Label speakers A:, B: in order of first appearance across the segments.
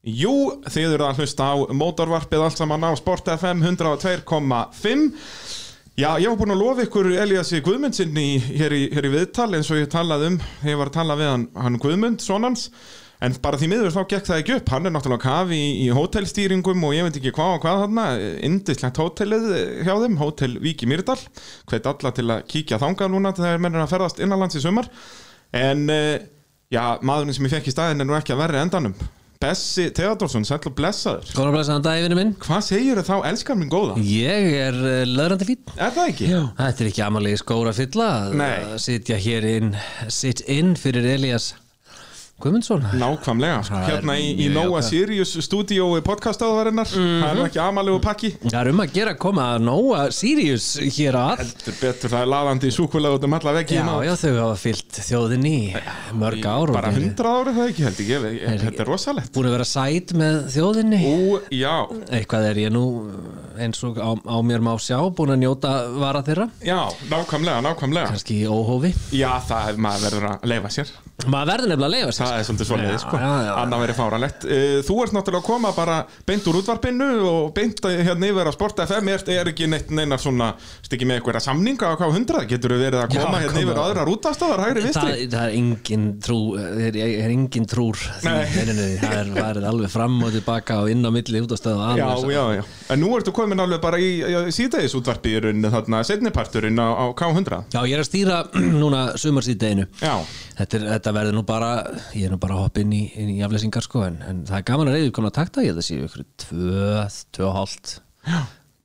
A: Jú, þið eru að hlusta á mótorvarpið allt saman á Sport FM 102,5 Já, ég var búin að lofa ykkur Eliassi Guðmundsinni hér, í- hér í viðtal eins og ég talaði um, ég var að tala við hann, hann Guðmund, sonans en bara því miður þá gekk það ekki upp hann er náttúrulega á kafi í, í hótelstýringum og ég veit ekki hvað og hvað þarna indislegt hótelið hjá þeim, hótel Víki Mýrdal hvet alla til að kíkja þangað núna þegar mennir að ferðast innanlands í sumar en eh, já, maðurinn sem ég fekk í staðin er nú ekki að verri endanum Bessi Theodorsson, sæll og blessaður
B: Góðan og blæsaðan dag, vinnu minn
A: hvað segirðu þá, elskar minn góða?
B: Ég er uh, löðrandi fín
A: Er það ekki?
B: Þetta er ekki amalegi skóra fylla að-
A: Nei.
B: að sitja hér inn sit in fyrir Elías Guðmundsson
A: Nákvæmlega, sko,
B: Það er
A: hérna í, í
B: mjög
A: Nóa
B: jákvæð.
A: Sirius stúdíói podcastáðvarinnar
B: Mhm.
A: það er nú ekki amalegu pakki
B: Það er um að gera að koma að nóa Sirius hér að
A: Þetta er betur, það er laðandi súkulega út um alla veggi
B: Já, já, þau hafa fyllt þjóðinni í mörg ár og
A: bara
B: þeir-
A: 100 árið það ekki held ég, ég, ég þetta er rosalegt
B: búin að vera sæt með þjóðinni
A: Ú, já,
B: Eitthvað er ég nú eins og á, á mér má sjá búin að njóta vara þeirra
A: já, nákvæmlega, nákvæmlega
B: kannski í óhófi
A: Já, það er, maður verður að leifa sér
B: Maður verður nefnilega að leifa sér
A: Það er svolítið
B: Já,
A: svolítið, sko
B: já, já.
A: Annað verið fáralegt Eh, Þú ert náttúrulega að koma bara beint úr útvarpinu og beint hérna yfir á Sport FM er, er ekki neitt neina svona stikki með einhverja samninga á hvað hundrað getur verið að
B: Já,
A: koma hérna
B: koma.
A: yfir á aðrar útastafar hægri vinstri
B: það, það er engin trú eh, er, er engin trúr því
A: Nei.
B: meininu. það er varð alveg fram og tilbaka og inn á milli út á stöðu og
A: Já,
B: annars.
A: já, já, en nú ertu komin alveg bara í, í síðdegis útvarpi í rauninni þarna setniparturinn á, á K100
B: já, ég er að stýra núna sumarsýdeginu
A: Já,
B: þetta, er- þetta verður nú bara ég er nú bara að hoppa inn í, inn í aflesingar sko, en, en það er gaman að reyðu konar takta ég held að séu ykkur tvö, tvö og hálft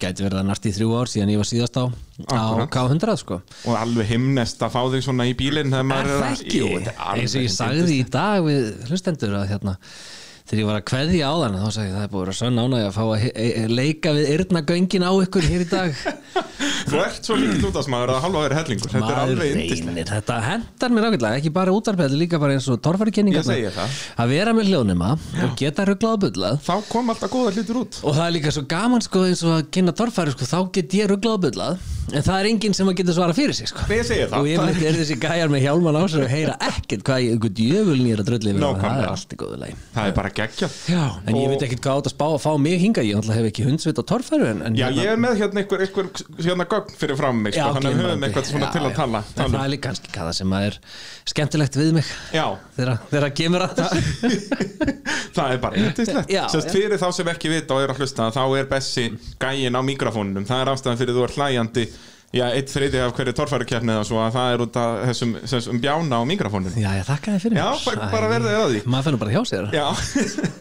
B: gæti verið að nært í þrjú ár síðan ég var síðast á, á
A: Akkúrat.
B: K100 sko
A: og alveg himnest að fá þig svona í bílinn þegar
B: Er
A: maður
B: það
A: að-
B: ekki?
A: Jú,
B: Jú,
A: þetta er alveg
B: eins og ég
A: himneskt.
B: sagði í dag við hlustendur að hérna þegar ég var að kveðja á þann þá sagði ég það er búið að vera sönn ánæg að fá að he- e- e- leika við yrnagöngin á ykkur hér í dag
A: Þú ert svo mikið útastmaður að halva verið hellingur Þetta er
B: Maður
A: alveg yndist
B: reynir, þetta hendar mér ágætlega ekki bara útarpið, þetta er líka bara eins og torfærikenningar
A: Ég segi það.
B: að vera með hljónema og geta ruglað og bullað
A: Þá kom alltaf góða hlutur út
B: Og það er líka svo gaman sko eins og að kynna torfæri sko, þá get ég ruglað og bullað en það er enginn sem að geta svara fyrir sig sko.
A: Nei, ég segi það.
B: Og ég
A: Það er
B: veit er þessi gæjar með hjálman á sér og heyra ekkert hvað ég, ykkur djöfulin ég er að drölli yfir og það
A: Nákvæmlega.
B: er allt í góðu lagi
A: Það er bara geggja
B: Já, en ég
A: Og-
B: veit ekkert hvað átt að spá að fá mig hinga ég náttúrulega hef ekki hundsvit á torfæru en, en
A: Já, ég er með hérna einhver, einhver hérna gögn fyrir fram mig sko, Þannig að við höfum
B: glimrandi.
A: eitthvað svona
B: Já,
A: til að
B: já.
A: tala,
B: En
A: tala.
B: Það
A: um.
B: er líka kannski hvað það sem að er skemmtilegt við mig
A: Já,
B: þegar þegar kemur að þessu
A: það er bara yndislegt
B: Já,
A: Sest
B: já.
A: fyrir þá sem ekki vita og eru að hlusta þá er Bessi gæin á mikrofónunum Það er ástæðan fyrir þú er hlæjandi Já, eitt þriði af hverju torfærukjarni eða svo að það er út af þessum, þessum bjána á mikrofónunum
B: Já, ég þakka þið fyrir
A: Já,
B: mér.
A: bara- bara
B: Æ,
A: verðið er að því.
B: Maður finnur bara hjá sér
A: Já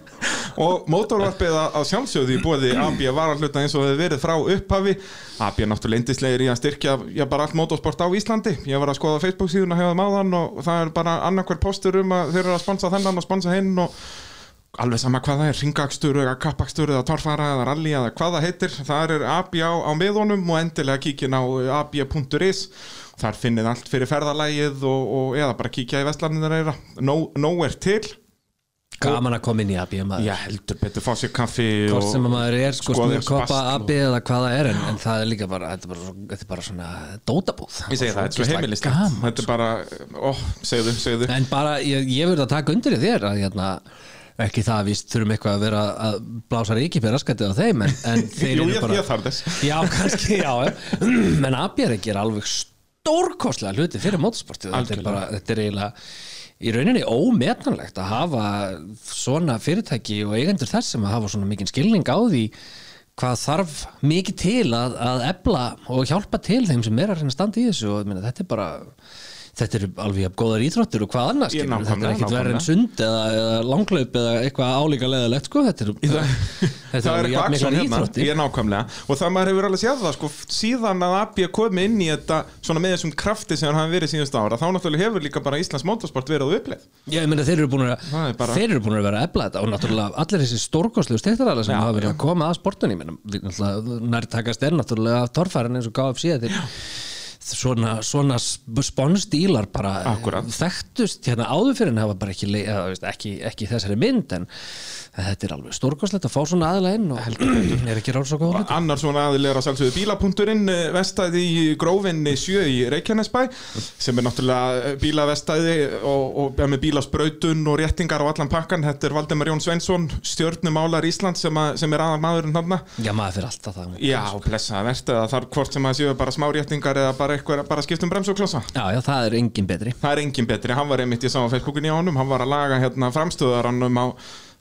A: Og mótorvarpið að að sjálfsögðu í bóði AB varahluta eins og þau verið frá upphafi AB er náttúrulega indislegir í að styrkja já, bara allt mótorsport á Íslandi Ég var að skoða Facebook síðuna hefðum áðan og það er bara annarkver postur um að þeir eru að sponsa þennan og sponsa hinn og alveg sama hvað það er, ringakstur eða kappakstur eða torfara eða rally eða hvað það heitir þar er AB á, á miðunum og endilega kíkin á eh, ab.is þar finnið allt fyrir ferðalægið og, og eða bara kíkja í vestlarnir þeirra Nó- nóg er til
B: Gaman að koma inn í AB maður
A: Já, heldur betur, fá sér kaffi
B: hvort
A: og-
B: sem að maður er sko
A: skoða
B: smurkoppa,
A: spasl og-
B: abi eða hvað það er en, en það er líka bara, þetta er bara, svo- þetta er bara svona dótabúð
A: Ég segi það, þetta er svo heimilislegt
B: Gaman.
A: Þetta er bara, ó, segðu, segðu
B: en bara, ég, ég verður að taka undir í þér að hérna ekki það að við þurfum eitthvað að vera að blása ríkipið raskatið á þeim en, en þeir
A: Jú,
B: eru
A: ég,
B: bara
A: ég þarf þess
B: já, kannski, já, já. en abjar ekki er alveg stórkostlega hluti fyrir mótorsportið þetta er
A: Algjörlega.
B: bara, þetta er eiginlega í rauninni ómetanlegt að hafa svona fyrirtæki og eigendur þess sem að hafa svona mikinn skilning á því hvað þarf mikið til að, að ebla og hjálpa til þeim sem er að reyna að standa í þessu og ég meina, þetta er bara þetta eru alveg jafn góðar íþróttir og hvað annars
A: Ég-
B: skilur, þetta er
A: nákvæmlega,
B: ekkit verið en
A: nákvæmlega.
B: sund eða, eða langlaup eða eitthvað álíka leðalegt sko, þetta er, þetta
A: Það er
B: alveg jafn
A: eitthvað aksjón
B: miklar
A: hérna,
B: íþróttir.
A: ég er nákvæmlega Og það maður hefur alveg séð það, sko Síðan að AB komi inn í þetta Svona með þessum krafti sem hann hafi verið síðust ára Þá náttúrulega hefur líka bara Íslands mótorsport verið á uppleið
B: Já, ég meina þeir eru búin að,
A: Það er bara-
B: þeir eru búin að vera að ebla þetta og náttúrulega allir þessi stórkostlegu styrtaræðla sem
A: Já,
B: hafa verið að koma að sportunni, ég meina við náttúrulega nærtakast er náttúrulega torfærin eins og KFC þeir, svona, svona sponsdílar bara
A: Akkúrat.
B: þekktust hérna áður fyrir en hafa bara ekki, le- eða, þú veist, ekki, ekki í þessari mynd en þetta er alveg stórkoslegt að fá svona aðila inn og er ekki ráð svo góð hugmynd.
A: annar svona aðil er að sjálfsögðu bílapunkturinn eh, vestæði í grófinni sjö í Reykjanesbæ sem er náttúrulega eh, bílavestæði og, og ja, með bílasbrautun og réttingar og allan pakkan, þetta er Valdemar Jón Svensson stjörnumálar Ísland sem, að, sem er aðal maðurinn hann
B: Já, maður fyrir alltaf það
A: Já, blessaða verðt eða þar hvort sem að séu bara smá réttingar eða bara, eitthvað, bara skiptum brems og klossa
B: Já, já, það er engin betri
A: Það er engin betri, hann var einmitt, ég sá á Facebookunni á honum, hann var að laga hérna framstöðarannum á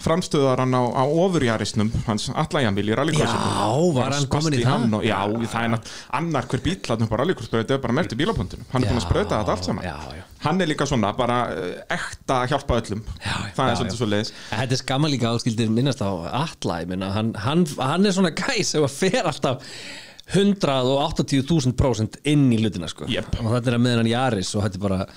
A: framstöðarann á, á ofurjarisnum, hans allajamil í rallykrossinu.
B: Já, var hann kominn í
A: Spasti
B: það?
A: hann Og, já, það er nátt, annar hver bíl hann bara rallycrossbrauti er bara merti bílapundinu, hann er búin að
B: Já,
A: sprauta þetta allt saman.
B: já, já.
A: Hann er líka svona, bara eh, ekta að hjálpa öllum,
B: Já, já,
A: það
B: já,
A: er svolítið
B: já.
A: svo leiðis.
B: En Þetta er skamma líka áskildir minnast á Atla, ég minna, hann, hann, hann er svona gæs sem að fer alltaf 180.000% inn í hlutina sko.
A: Jep.
B: og þetta er að meðan hann Jaris og þetta er bara,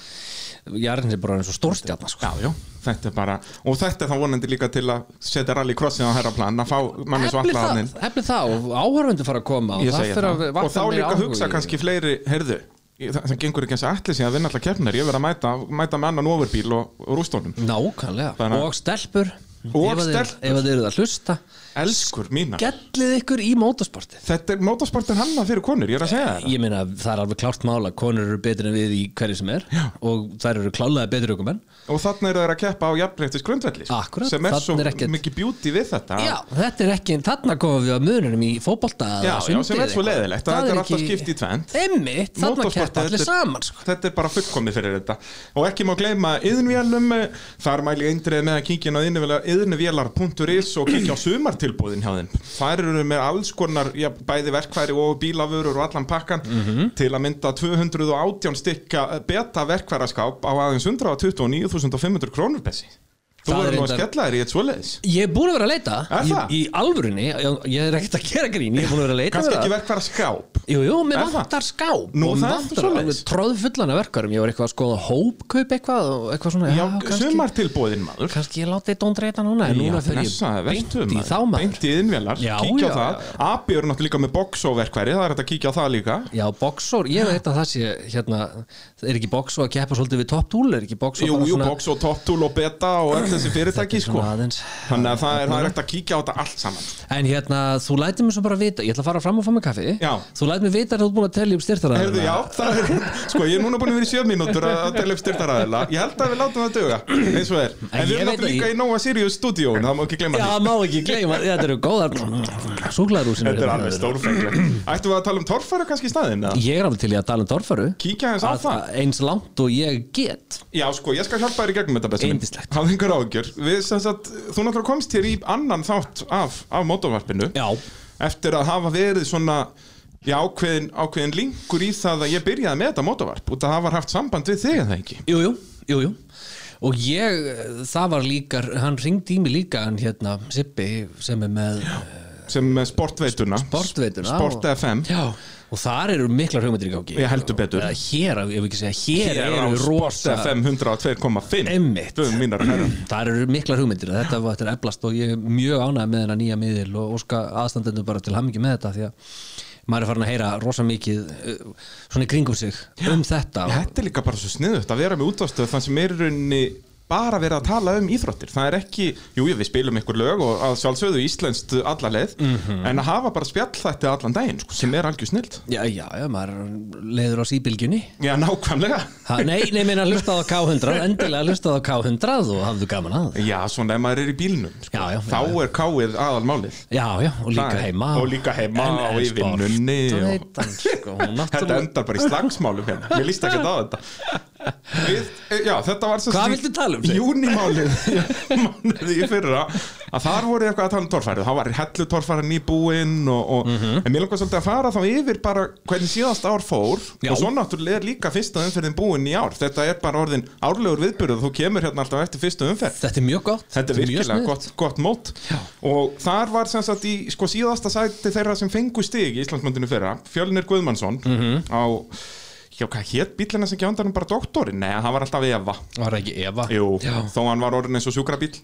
B: Jaris er bara eins og stórstjarnar sko.
A: Já, já, þetta er bara, og þetta er þá vonandi líka til að setja rallycrossin á herra plan, að fá manni svo
B: Efli
A: alla hann
B: það,
A: inn.
B: efli það og áhörfundu fara að koma
A: Ég
B: og það
A: segi
B: fyrir að
A: það.
B: vakna
A: og þá
B: meiri
A: líka
B: áhuga
A: hugsa
B: í-
A: kannski fleiri heyrðu, ég- það það gengur ekki eins og allir síðan að vinna allar keppnir, ég verð að mæta, mæta með annan ofurbíl og, og rústónum
B: Nákvæmlega,
A: Þannig að-
B: og stelpur
A: Og
B: ef að þeir-
A: stelpur.
B: Ef að þeir eru að hlusta
A: elskur mína
B: Gellið ykkur í mótorsportið
A: þetta er mótorsportin hanna fyrir konur, ég er að segja þetta
B: Ég meina, það er alveg klárt mála konur eru betur en við í hverju sem er Já. og þær eru klálega betur ykkur menn
A: og þarna eru þeir að keppa á jafnreittis grundvelli sko,
B: Akkúrat,
A: sem er
B: þarna
A: svo
B: er ekkert-
A: mikið beauty við þetta
B: Já, þetta er ekki, þarna komum við að mununum í fótbolta eða
A: já, já,
B: sundi
A: sem
B: eða
A: er svo
B: eitthvað.
A: leiðilegt að
B: Það
A: þetta er alltaf skipt í tvend
B: Einmitt, þarna
A: Motorsport,
B: keppa allir
A: þetta er-
B: saman sko.
A: þetta er bara fullkomið fyrir þetta og ekki má gleyma yðnvélum eh, þar mæli ég eindrið með að kíkja inn á yðnvélar.is og kíkja á sumartilbúðin hjá þeim þar eru með alls konar já, bæði verkværi og bílafurur og allan pakkan
B: Mhm.
A: til að mynda 218 stykka eh, beta verkværaskáp á aðeins 129.500 krónur bessi þú
B: Það er
A: verður nú að
B: reyndar-
A: skella þér í eitt svoleiðis
B: Ég er búin að vera að leita
A: Er
B: í,
A: það?
B: í alvörunni, ég, ég er ekkert að gera grín Ég er búin að vera að leita
A: kannski
B: við
A: ekki
B: það.
A: verkværaskáp
B: Jú, jú, mér
A: Er það?
B: vantar skáp
A: Nú,
B: og
A: það er
B: vantar
A: svoleiðis.
B: alveg tróðfullan af verkarum Ég var eitthvað að skoða hópkaup eitthvað og eitthvað svona
A: já,
B: kannski,
A: sumartilbúðin maður
B: kannski ég láti dóndreita núna en núna
A: Já,
B: fyrir
A: blessa,
B: ég beint
A: vertu,
B: í þá maður
A: Beint í innvélar,
B: Já,
A: kíkja
B: já,
A: á það
B: já,
A: Abi eru náttúrulega líka með boxóverkværi Það er hægt að kíkja á það líka
B: Já, boxor, ég veit að það sé hérna, er ekki boxo að keppa svolítið við top tool, er ekki boxo
A: Jú,
B: bara
A: jú,
B: svona
A: box og top tool og beta og öll þessi fyrirtæki sko
B: svona aðeins
A: Þannig að það er, það er hægt að kíkja á þetta allt saman
B: En hérna, þú lætir mér svo bara vita Ég ætla að fara fram og fá mig kaffi
A: Já.
B: Þú lætir mér vita að þú ert búin að telja upp styrtara
A: Heyrðu, já, það er, sko, ég er núna búin að vera í sjö mínútur að að telja upp styrtaræðila Ég held að við látum það duga, eins og er En
B: En
A: við
B: ég
A: erum náttúrulega
B: veit að
A: líka
B: ég-
A: í Nóa Sirius stúdíón, það má ekki glemma
B: já
A: því
B: má ekki gleyma Þetta eru góðar hérna. súklaðrúsinu
A: Þetta er alveg stórfengleg Ættum við að tala um torfæru kannski í staðinn? eða?
B: Ég er alveg til í að tala um torfaru
A: Kíkja aðeins á það
B: Eins langt og ég get
A: Já, sko, ég skal hjálpa þér í gegnum þetta besta
B: Yndislegt.
A: Hafðu yngur ágjör Við, sem sagt, þú náttúrulega komst hér í annan þátt af, af mótorvarpinu
B: Já,
A: Eftir að hafa verið svona Já, ákveðin, ákveðin linkur í það að ég byrjaði með þetta mótorvarp Út að það var haft samband við þig en það ekki
B: jú, jú, jú, jú Og ég, það var líka, hann ringdi í mig líka, hann hérna, Sippi, sem er með
A: Sem með sportveituna
B: Sportveituna
A: Sport
B: og-
A: FM
B: Já, og þar eru miklar hugmyndir í gangi
A: Ég heldur betur.
B: Eða Hér, ef við ekki segja, hér,
A: Hér á
B: eru
A: Sport
B: rosa
A: FM 102,5
B: Einmitt.
A: Guðum mínar að herra
B: Þar eru miklar hugmyndir að þetta var þetta er eflast og ég er mjög ánægð með þennan nýja miðil og óska aðstandendur bara til hamingi með þetta því að maður er farin að heyra rosa mikið uh, svona í kringum sig um þetta
A: Þetta er líka bara svo sniðut að vera með útástöð þann sem er í rauninni bara verið að tala um íþróttir það er ekki, jú jú, við spilum ykkur lög og að sjálfsögðu íslenskt alla leið en að hafa bara spjall þetta allan daginn sko, sem er algjör snild
B: Já, já, já, maður leiður á síbylgjunni
A: Já, nákvæmlega
B: ha, Nei, nei, meina hlustaðu á K100 endilega hlustaðu á K100 og hafðu gaman að
A: Já, svona ef maður er í bílnum sko,
B: Já, já,
A: þá
B: já,
A: er káið aðalmálið
B: Já, já, og líka
A: Það er-
B: heima
A: og líka heima
B: En-
A: og
B: en
A: í
B: sport,
A: vinnunni
B: þú
A: og-
B: veit hann, sko, hún
A: Þetta
B: náttúrulega-
A: endar bara í slagsmálum hérna Mér líst ekki á þetta Við, eh, Já, þetta var svo
B: Hvað viltu tala um, Sveinn?
A: Júnimálið Mánuði í fyrra Að þar voru eitthvað að tala um torfærið Það var hellu torfærið nýbúinn og, og,
B: Mhm.
A: En mér langar svolítið að fara þá yfir bara Hvernig síðast ár fór
B: Já.
A: Og svo náttúrulega er líka fyrsta umferðin búin í ár Þetta er bara orðin árlegur viðbyrð Þú kemur hérna alltaf eftir fyrstu umferð
B: Þetta er mjög gott
A: Þetta er
B: mjög
A: virkilega
B: sniðugt.
A: gott, gott mót og þar var sem sagt í sko, síðasta sæti þeirra sem fengu stig í Íslandsmöndinu fyrra, Fjölnir Guðmannsson
B: Mhm.
A: á, já hvað hétt bílina sem gjandarinn bara doktorinn? Nei, hann var alltaf Eva
B: Var það ekki Eva?
A: Jú,
B: Já,
A: þó hann var orðin eins og sjúkrabíl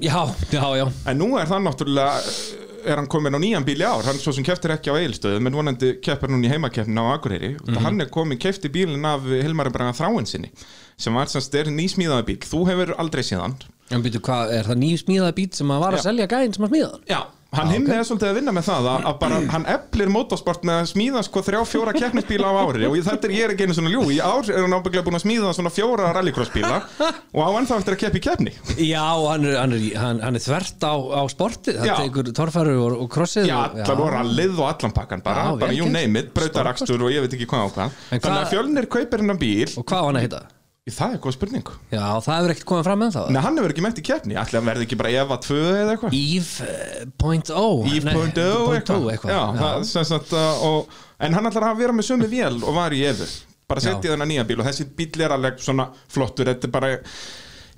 B: já, já, já.
A: en nú er það náttúrulega eh, er hann komin á nýjan bíl í ár hann svo sem keftir ekki á eilstöðum en vonandi keppar núna í heimakeppnin á Akureyri mm
B: Mhm.
A: hann er komin kefti bílinn af Hilmari Braga Þráin sinni sem var sem styrir nýsmíðaða bíl þú hefur aldrei síðan
B: En byrju, hvað, er það ný smíðaða bít sem að var að
A: Já.
B: selja gæðin sem að smíða hann?
A: Já, hann himni er svolítið að vinna með það að, að bara, hann eflir motorsport með að smíða sko þrjá fjóra keppnisbíla á ári og ég- þetta er ég er ekki einu svona ljú, í ár er hann ábygglega búin að smíða svona fjóra rallycrossbíla og á ennþá eftir að keppi keppni
B: Já, hann er, hann er, í- hann, hann er þvert á, á sportið, hann
A: Já.
B: tekur torfæru og, og krossið
A: Já,
B: og-
A: allan og rallið og allan pakkan bara,
B: Já, vel
A: bara you
B: gert.
A: name it, brautarakstur og ég veit ekki hvað á hvað
B: En
A: Þannig að
B: hvað-
A: fjölnir kaupir hennan bíl
B: Og hvað á hann að heita?
A: Það er góð spurning
B: Já, það hefur ekkert komið fram með það
A: Nei, hann hefur ekki mætt í keppni, ætli hann verði ekki bara Eva 2 eða eitthvað
B: eh, Eve.0
A: Eve.0
B: eitthvað,
A: eitthvað Já, það sem sagt uh, og, En hann ætlar að vera með sömu vél og var í Evu Bara
B: Já.
A: setja þennan nýja bíl og þessi bíl er alveg svona flottur Þetta er bara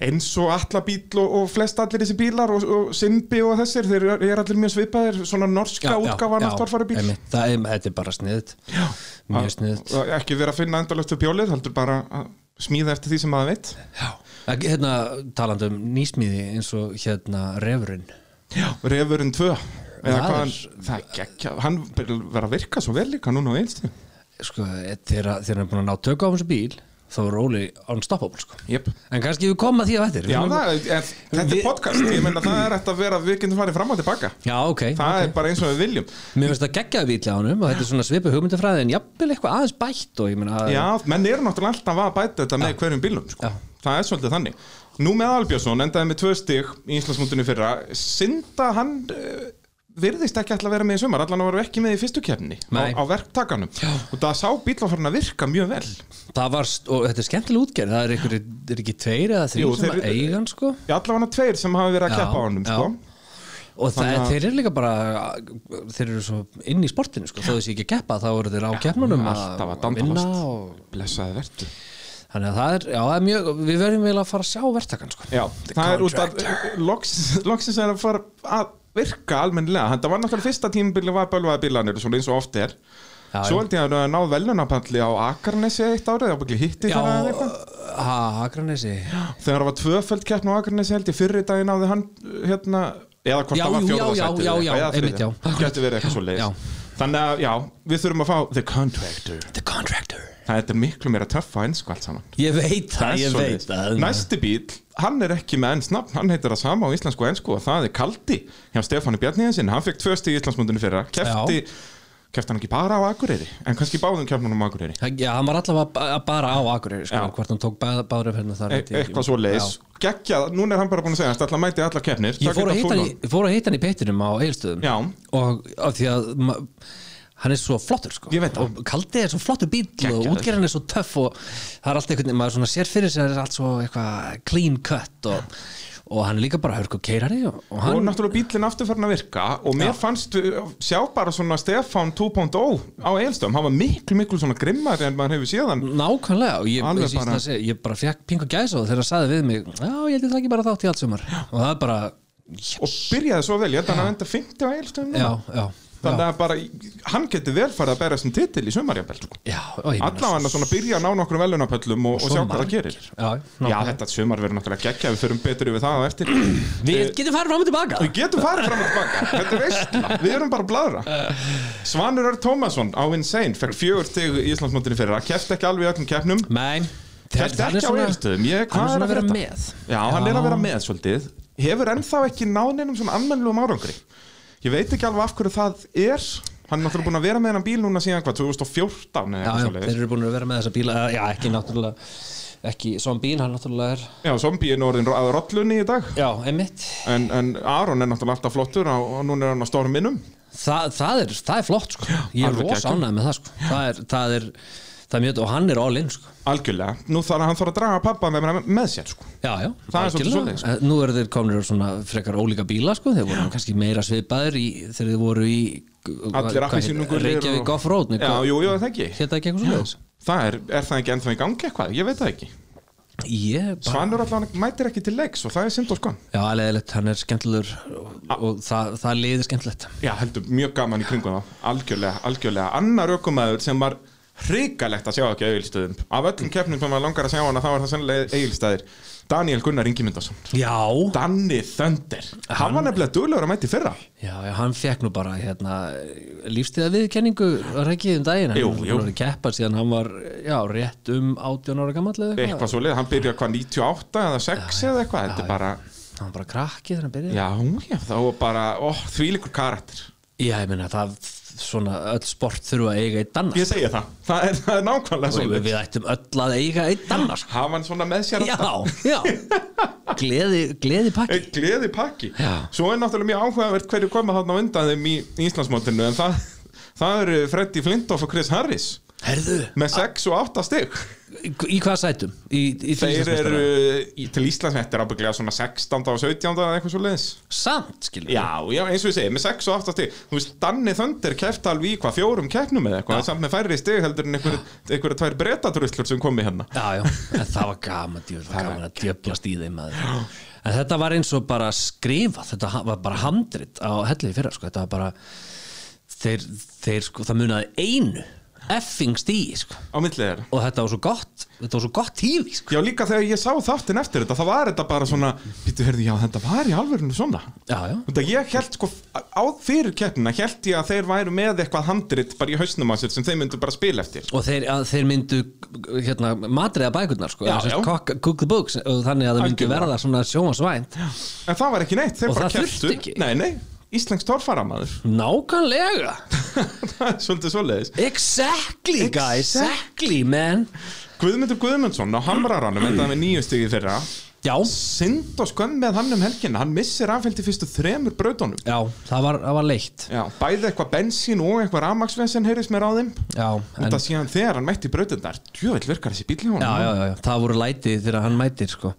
A: eins og alla bíl og, og flest allir þessi bílar og, og Simbi og þessir, þeir eru allir mjög svipaðir svona norska
B: Já, já,
A: útgáfan
B: já,
A: af torfari bíl
B: einmitt. Það er, þetta er bara sniðt Mjög sniðt
A: Og ekki vera að finna endalöftu bjólið heldur bara að smíða eftir því sem maður veit
B: Hérna talandi um nýsmíði eins og hérna refurinn
A: Já. Refurinn 2 eða
B: Það
A: hvað
B: er-
A: hann, það er gekkja hann byrjar að vera að virka svo vel líka núna á einstíð
B: sko, þegar þegar hann er búin að ná tökka á þessu bíl þá er Óli unstoppable sko.
A: Jep.
B: en kannski við komum að því að eftir
A: Já,
B: Við-
A: það, er- en, þetta
B: Við-
A: er podcast, ég meina það er eftir að vera, við getum farið fram og tilbaka
B: já, ok
A: Það er bara eins og við viljum
B: mér finnst það geggjaði bíl á honum og þetta er svona svipu hugmyndafræði en jafnvel eitthvað aðeins bætt og ég meina að-
A: Já, menn eru náttúrulega alltaf að bæta þetta með hverjum bílum sko.
B: Já.
A: Það er svolítið þannig Nú með Albjörnsson endaði með tvö stig í Íslandsmúndinu í fyrra Sinda hann uh, virðist ekki ætla að vera með í sumar allan að vera ekki með í fyrstu kefni
B: Nei.
A: á, á verktakanum Já. og það sá bíl var farin að virka mjög vel
B: það var, st- og þetta er skemmtileg útgerð það er, einhver, er ekki tveir eða þrjú
A: Jú,
B: sem
A: þeir-
B: að eiga hann sko
A: Já, allavega tveir sem hafa verið að
B: Já,
A: keppa á honum
B: já.
A: sko.
B: og það,
A: Þannig að-
B: þeir eru líka bara þeir eru svo inn í sportinu sko, þó þessi ekki keppa þá eru þeir á keppnunum að
A: Alltaf að
B: að vinna
A: dandalast
B: og,
A: Blessaði vertu
B: þannig að það er, já, það er mjög, við verðum vel að fara að sjá verktakann sko.
A: Já, það er út af loks- loksins er að fara að virka almennilega, þetta var náttúrulega fyrsta tímabili var bölvaða bílanir og svona eins og oft er
B: Já,
A: svo held ég að það náð velunapalli á Akarnesi eitt árið, það var ekki hitti
B: já,
A: þegar eða eitthvað
B: ha, Akranesi
A: þegar það var tvöföld keppn á Akarnesi held ég fyrri daginn náði hann hérna, eða hvort
B: Já,
A: það var
B: jú,
A: fjóraða
B: já, já, já, já, einmitt, já.
A: getur verið eitthvað svo
B: Já.
A: leiðis þannig að já, við þurfum að fá The Contractor
B: The Contractor
A: það er miklu meira töffa eins sko allt saman
B: Ég veit það, ég
A: Svoleiðis.
B: veit hérna. það
A: Næsti bíl, hann er ekki með enns nafn Hann heitir það sama á íslensku og ennsku og það er Kaldi hjá Stefáni Bjarniðinsinn Hann fekk tvö stig í Íslandsmundinu fyrra Kefti, kefti hann ekki bara á Akureyri En kannski báðum kefnunum á Akureyri
B: Það- Já, hann var allavega ba- bara á Akureyri sko,
A: Já.
B: hvort hann tók bæ- báðra fyrir hérna þar
A: e
B: veit ég ekki.
A: Eitthvað svo leis
B: Já.
A: Gekja, núna er hann bara búin að segja Það mæti allar kefnir
B: Ég fór að, hitta hann í, ég fór að hitta hann í peitinum á Egilstöðum
A: Já.
B: og af því að ma, hann er svo flottur sko
A: Ég veit það.
B: og kaldi er svo flottur bíl og
A: Geggjaður.
B: útgerðan er svo töff og það er allt einhvern veginn, maður svona sér fyrir sér er allt svo eitthvað clean cut og, og hann er líka bara hörku keirari og, og
A: Og
B: hann
A: náttúrulega bílinn aftur farin að virka Og mér
B: Já.
A: fannst, uh, sjá bara svona Stefán 2.0 á Eilstöðum Hann var miklu, miklu svona grimmari en maður hefur
B: Mm.
A: síðan
B: Nákvæmlega, og ég,
A: Alveg
B: ég,
A: bara-
B: bara... Segja, ég bara fekk pingu gæsa og þegar það sagði við mig Já, ég heldur það ekki bara þátt í allt sumar Og það er bara, já,
A: Og byrjaði svo vel, ég held að hann að enda 50 á Eilstöðum
B: já, já,
A: Þannig að bara, hann getur vel farið að bæra sem titil í sumarjafbel sko.
B: já og ég meina,
A: Allavega svona byrja að ná nokkrum velunapöllum og, og
B: svo
A: sjá hvað það
B: margir.
A: gerir
B: Já,
A: Já,
B: nákvæmlega.
A: þetta sumar verður náttúrulega geggja Við förum betur yfir það á eftir Eh,
B: Við getum farið fram og tilbaka
A: Við getum farið fram og tilbaka Þetta er veistla, við erum bara að bladra
B: Eh.
A: Svanur Ör Tómasson á Insane Fekk fjögur stig í Íslandsmóttinu fyrir Hann kefti ekki alveg í öllum keppnum
B: Nei,
A: Kefti
B: hann er
A: ekki á
B: svona-
A: Egilsstöðum Ég-
B: hann er
A: Hvað er að
B: svona að vera
A: frétta?
B: með
A: Já, hann er að vera með svolítið Hefur ennþá ekki náninum svona anmennlum árangri Ég veit ekki alveg af hverju það er Hann er náttúrulega búin að vera með hennan bíl núna síðan hvað 2014 eða
B: já, já,
A: eitthvað
B: þeir
A: svoleiðis.
B: eru búin að vera með þessa bíla já, ekki náttúrulega ekki svona bíl, hann náttúrulega er
A: Já, zombie er nú orðin að rollunni í dag
B: já, einmitt,
A: En, en Aron er náttúrulega alltaf flottur á- og núna er hann á storminum
B: Þa, það, er, það er flott sko. ég er
A: alveg
B: rosa
A: geggjum.
B: ánægð með það sko. það, er, það, er, það er mjög og hann er all in sko.
A: Algjörlega, nú þarf að hann þarf að draga pappa með, með sér sko.
B: já, já,
A: Það er svolítið
B: algjörlega.
A: svoleiðis,
B: Eh,
A: sko.
B: nú eru þeir komnir á svona frekar ólíka bíla sko. þeir voru kannski meira svipaðir í, þegar þeir voru í
A: Allir appelsínugulir og-
B: Reykjavík Offroad
A: Já, jú, jú, það ekki
B: hérna ekki eitthvað svona
A: Það er, er það ekki ennþá í gangi eitthvað, ég veit það ekki
B: ég bara
A: Svanur allan mætir ekki til leiks og það er synd og skan
B: Já, leðilegt, hann er skemmtilegur og, og það, það liðir skemmtilegt
A: Já, heldur, mjög gaman í kringum það Algjörlega, algjörlega, annar ökumæður sem var hrikalegt að sjá ekki á eigilstöðum af öllum keppnum sem maður langar að sjá hana þá er það sennilega eigilstæðir Daniel Gunnar Ingimundarsson
B: Já
A: Danni Þönder hann var nefnilega duglegur að mæti fyrra
B: Já, já, hann fekk nú bara hérna, lífstíða viðkenningu var ekki um daginn
A: Jú,
B: hann
A: jú.
B: var að keppa síðan hann var já, rétt um 18 ára gammal eða
A: eitthvað svo hann byrjaði hvað 98 eða 6 eða eitthvað þetta er bara,
B: hann var bara krakki þegar hann byrjaði já,
A: já, já, þá var bara ó, þvílíkur karakter
B: ég meina það svona öll sport þurfa að eiga eitt annars
A: ég segja það, það er, það er nákvæmlega
B: og
A: svo
B: við, við ættum öll að eiga eitt annars
A: hafa hann svona með sér
B: já,
A: alltaf.
B: já gleði, gleði pakki
A: einn gleði pakki
B: Já.
A: svo er náttúrulega mjög áhugavert hverju koma þarna á undan þeim í Íslandsmótinu en það, það eru Freddy Flintoff og Chris Harris
B: herðu,
A: með 6 og 8 stygg
B: í, í hvað sætum? Í, í
A: þeir eru
B: Íslandsmeistara?
A: í- til Íslands þetta er ábygglega svona 16. og 17. eða eitthvað svo leiðis
B: samt, skilur við.
A: já, já, eins og ég segi, með 6 og 8 stygg þú veist, Danni Þöndir kefti alveg í hvað fjórum keppnum eða eitthvað, samt með færri stygg heldur en einhver- einhverja tvær bretadruslur sem komi hérna
B: Já, já, en það var gaman, djú, það var gaman að djöblast í þeim maður. En þetta var eins og bara skrifa, þetta ha- var bara handrit á hellið í fyrra, sko, þetta var bara, þeir, þeir sko, það munaði einu, effing stíði, sko,
A: á milli þeirra
B: og þetta var svo gott, þetta var svo gott tífi, sko.
A: Já, líka þegar ég sá þáttinn eftir þetta, það var þetta bara svona, býttu, heyrðu, já, þetta var í alvörinu svona.
B: Já, já,
A: Þetta ég held sko á fyrir keppnina held ég að þeir væru með eitthvað handrit bara í hausnum að sér sem þeir myndu bara spila eftir
B: og þeir, að, þeir myndu, hérna, matriða bækurnar, sko,
A: Já,
B: sem
A: já.
B: sagt, Cook, cook the books, og þannig að það myndi
A: Algjörlega.
B: verða svona sjómasvænt.
A: en það var ekki neitt, þeir
B: Og
A: bara
B: það þurfti
A: kepptu
B: ekki.
A: Nei, nei, Íslensk torfaramaður
B: Nákvæmlega,
A: það er svolítið svoleiðis
B: exactly, guys, exactly, man.
A: Guðmundur Guðmundsson á Hamraranum endaði með nýju stig í fyrra
B: Já,
A: synd og skömm með hann um helgina hann missir afhælti fyrstu þremur brautunum
B: já, það var, það var leitt.
A: Já, bæði eitthvað bensín og eitthvað rafmaksvesen heyrðist mér á þeim
B: Já, en,
A: Þetta síðan þegar hann mætti brautunar djövel virkar þessi bíl í honum
B: já, já, já, já, það voru lætið þegar hann mætir sko.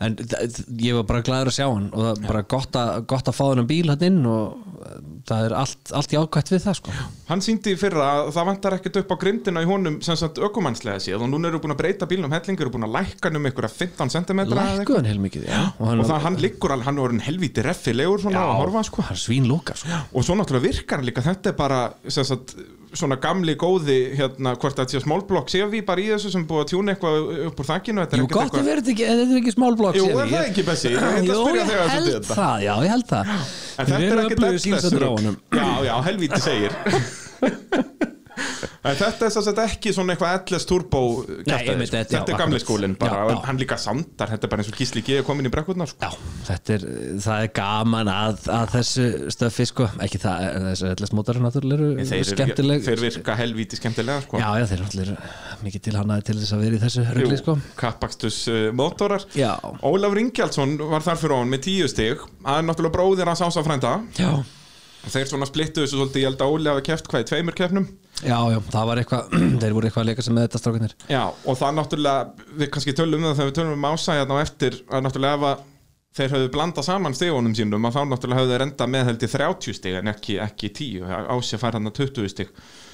B: en þa- þ- ég var bara glæður að sjá hann og það er bara gott, a, gott að fá þennan bíl hann inn og eh, það er allt, allt jákvætt við það sko.
A: Hann síndi í fyrra að það vantar ekkert upp á grindina í honum sem sagt ökumannslega séð og núna eru búin að breyta bílnum hellingur eru búin að lækka hann um einhverja 15 cm
B: lækkuðan heilmikið já, og hann,
A: og það hann liggur alveg, hann er orðinn helvíti reffilegur svona
B: já,
A: að horfa sko
B: hann svínlúka sko.
A: og svo náttúrulega virkar hann líka þetta er bara sem sagt svona gamli góði hérna hvort þetta sé smálblokk séu við bara í þessu sem búið að tjúna eitthvað upp úr þakkinu þetta er
B: Jú,
A: ekkert
B: gott að vera þetta ekki, þetta er ekki smál blokk
A: Jú,
B: sé
A: er
B: ég.
A: það ekki, Bessi? Ég ætla að
B: Jú,
A: spyrja
B: ég
A: þig aðeins út í
B: held
A: þetta.
B: það, já, ég held það
A: En þetta er ekkert
B: ekki
A: eldsnestur Já, já, helvíti segir En þetta er svolítið ekki svona eitthvað ellest turbo kjaftaði,
B: einmitt,
A: sko.
B: þetta- já,
A: Þetta er gamli
B: akkurat.
A: skólinn bara
B: Já,
A: já,
B: já.
A: Hann líka sandar, þetta er bara eins og Gísli G er komin í brekkurnar sko.
B: Já, þetta er, það er gaman að, að þessu stöfi sko, ekki það, en þessu ætlast mótarar náttúrulega
A: þeir,
B: eru
A: eru-
B: skemmtileg
A: þeir virka helvíti skemmtilega sko.
B: Já, já, þeir eru allir mikið tilhannaði til þess að vera í þessu rugli, sko.
A: Kappakstus uh, mótorar
B: Já.
A: Ólafur Ingjaldsson var þar fyrir án með tíu stig Það er náttúrulega bróðir hans ása frænda
B: Já,
A: Þeir svona splittu þessu svolítið, ég held að Ólafur keft hvað í tveimur keppnum
B: já, já, það var eitthvað, þeir voru eitthvað að leika sem með þetta strákunir.
A: Já, og það náttúrulega, við kannski tölum um það þegar við tölum um Ása hérna á eftir að náttúrulega ef að þeir höfðu blandað saman stigunum sínum að þá náttúrulega höfðu þeir enda með held í 30 stig en ekki, ekki 10, Ási fær hann að 20 stig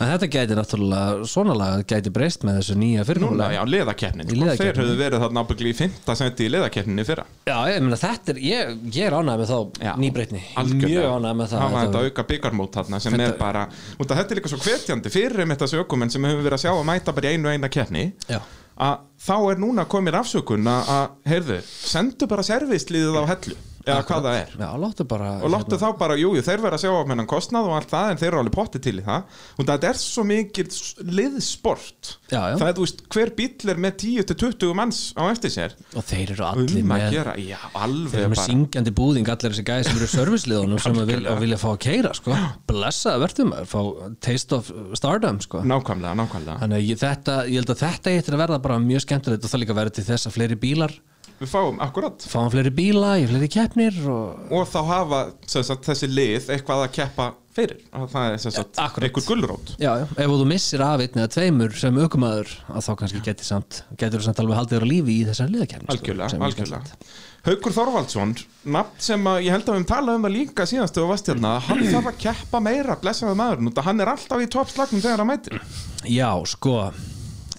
B: En þetta gæti náttúrulega, svona lag gæti breyst með þessu nýja
A: Núna,
B: fyrirkomula.
A: já,
B: Í
A: leðakeppnin, sko.
B: liðakeppninni.
A: þeir höfðu verið þarna ábyggli í 5. senti í leðakeppninni fyrra
B: Já, ég meina þetta er, ég, ég er ánægð með þá
A: Já,
B: nýbreytni.
A: algjörlega.
B: Mjög ánægð með það.
A: Það var þetta auka byggarmót þarna sem er bara út að þetta er líka svo hvetjandi fyrir um þetta sögumenn sem hefur verið að sjá að mæta bara í einu og eina keppni
B: Já.
A: að þá er núna komir afsökun að, að heyrðu, sendu bara servisliðið á hellu eða hvað það er
B: Já, láttu bara,
A: og láttu þá bara, jújú, jú, þeir verða að sjá á mennan kostnað og allt það, en þeir eru alveg potti til í það og það er svo mikið s- liðsport
B: Já, já.
A: það er, þú veist, hver bíll er með 10-20 manns á eftir sér
B: og þeir eru allir
A: um að
B: með,
A: gera, já,
B: þeir
A: alveg
B: eru með
A: bara
B: syngjandi búðing, allir þessi gæði sem eru serviceliðunum sem að vil,
A: Algjörlega.
B: að vilja fá að keira, sko. Blessaða verðum að fá taste of stardom, sko.
A: nákvæmlega, nákvæmlega
B: Þannig að ég, þetta, ég held að þetta eittir að verða bara mjög skemmtilegt og það líka verður til þess að fleiri bílar
A: við fáum akkurat
B: fáum fleiri bíla í fleiri keppnir og
A: og þá hafa sem sagt, þessi lið eitthvað að keppa fyrir og það er sem sagt,
B: Ja, akkurat.
A: einhver gullrót
B: já, já, ef þú missir af einn eða tveimur sem aukumæður að þá kannski getur samt, getur samt alveg haldið þér á lífi í þessari liðakeppni sko,
A: algjörlega,
B: sem er skemmtilegt.
A: algjörlega Haukur Þorvaldsson, nafn sem að ég held að við talaðum um að líka síðast og varst hérna, hann þarf að keppa meira blessaði maður, hann er alltaf í toppslagnum þegar hann mætir
B: Já, sko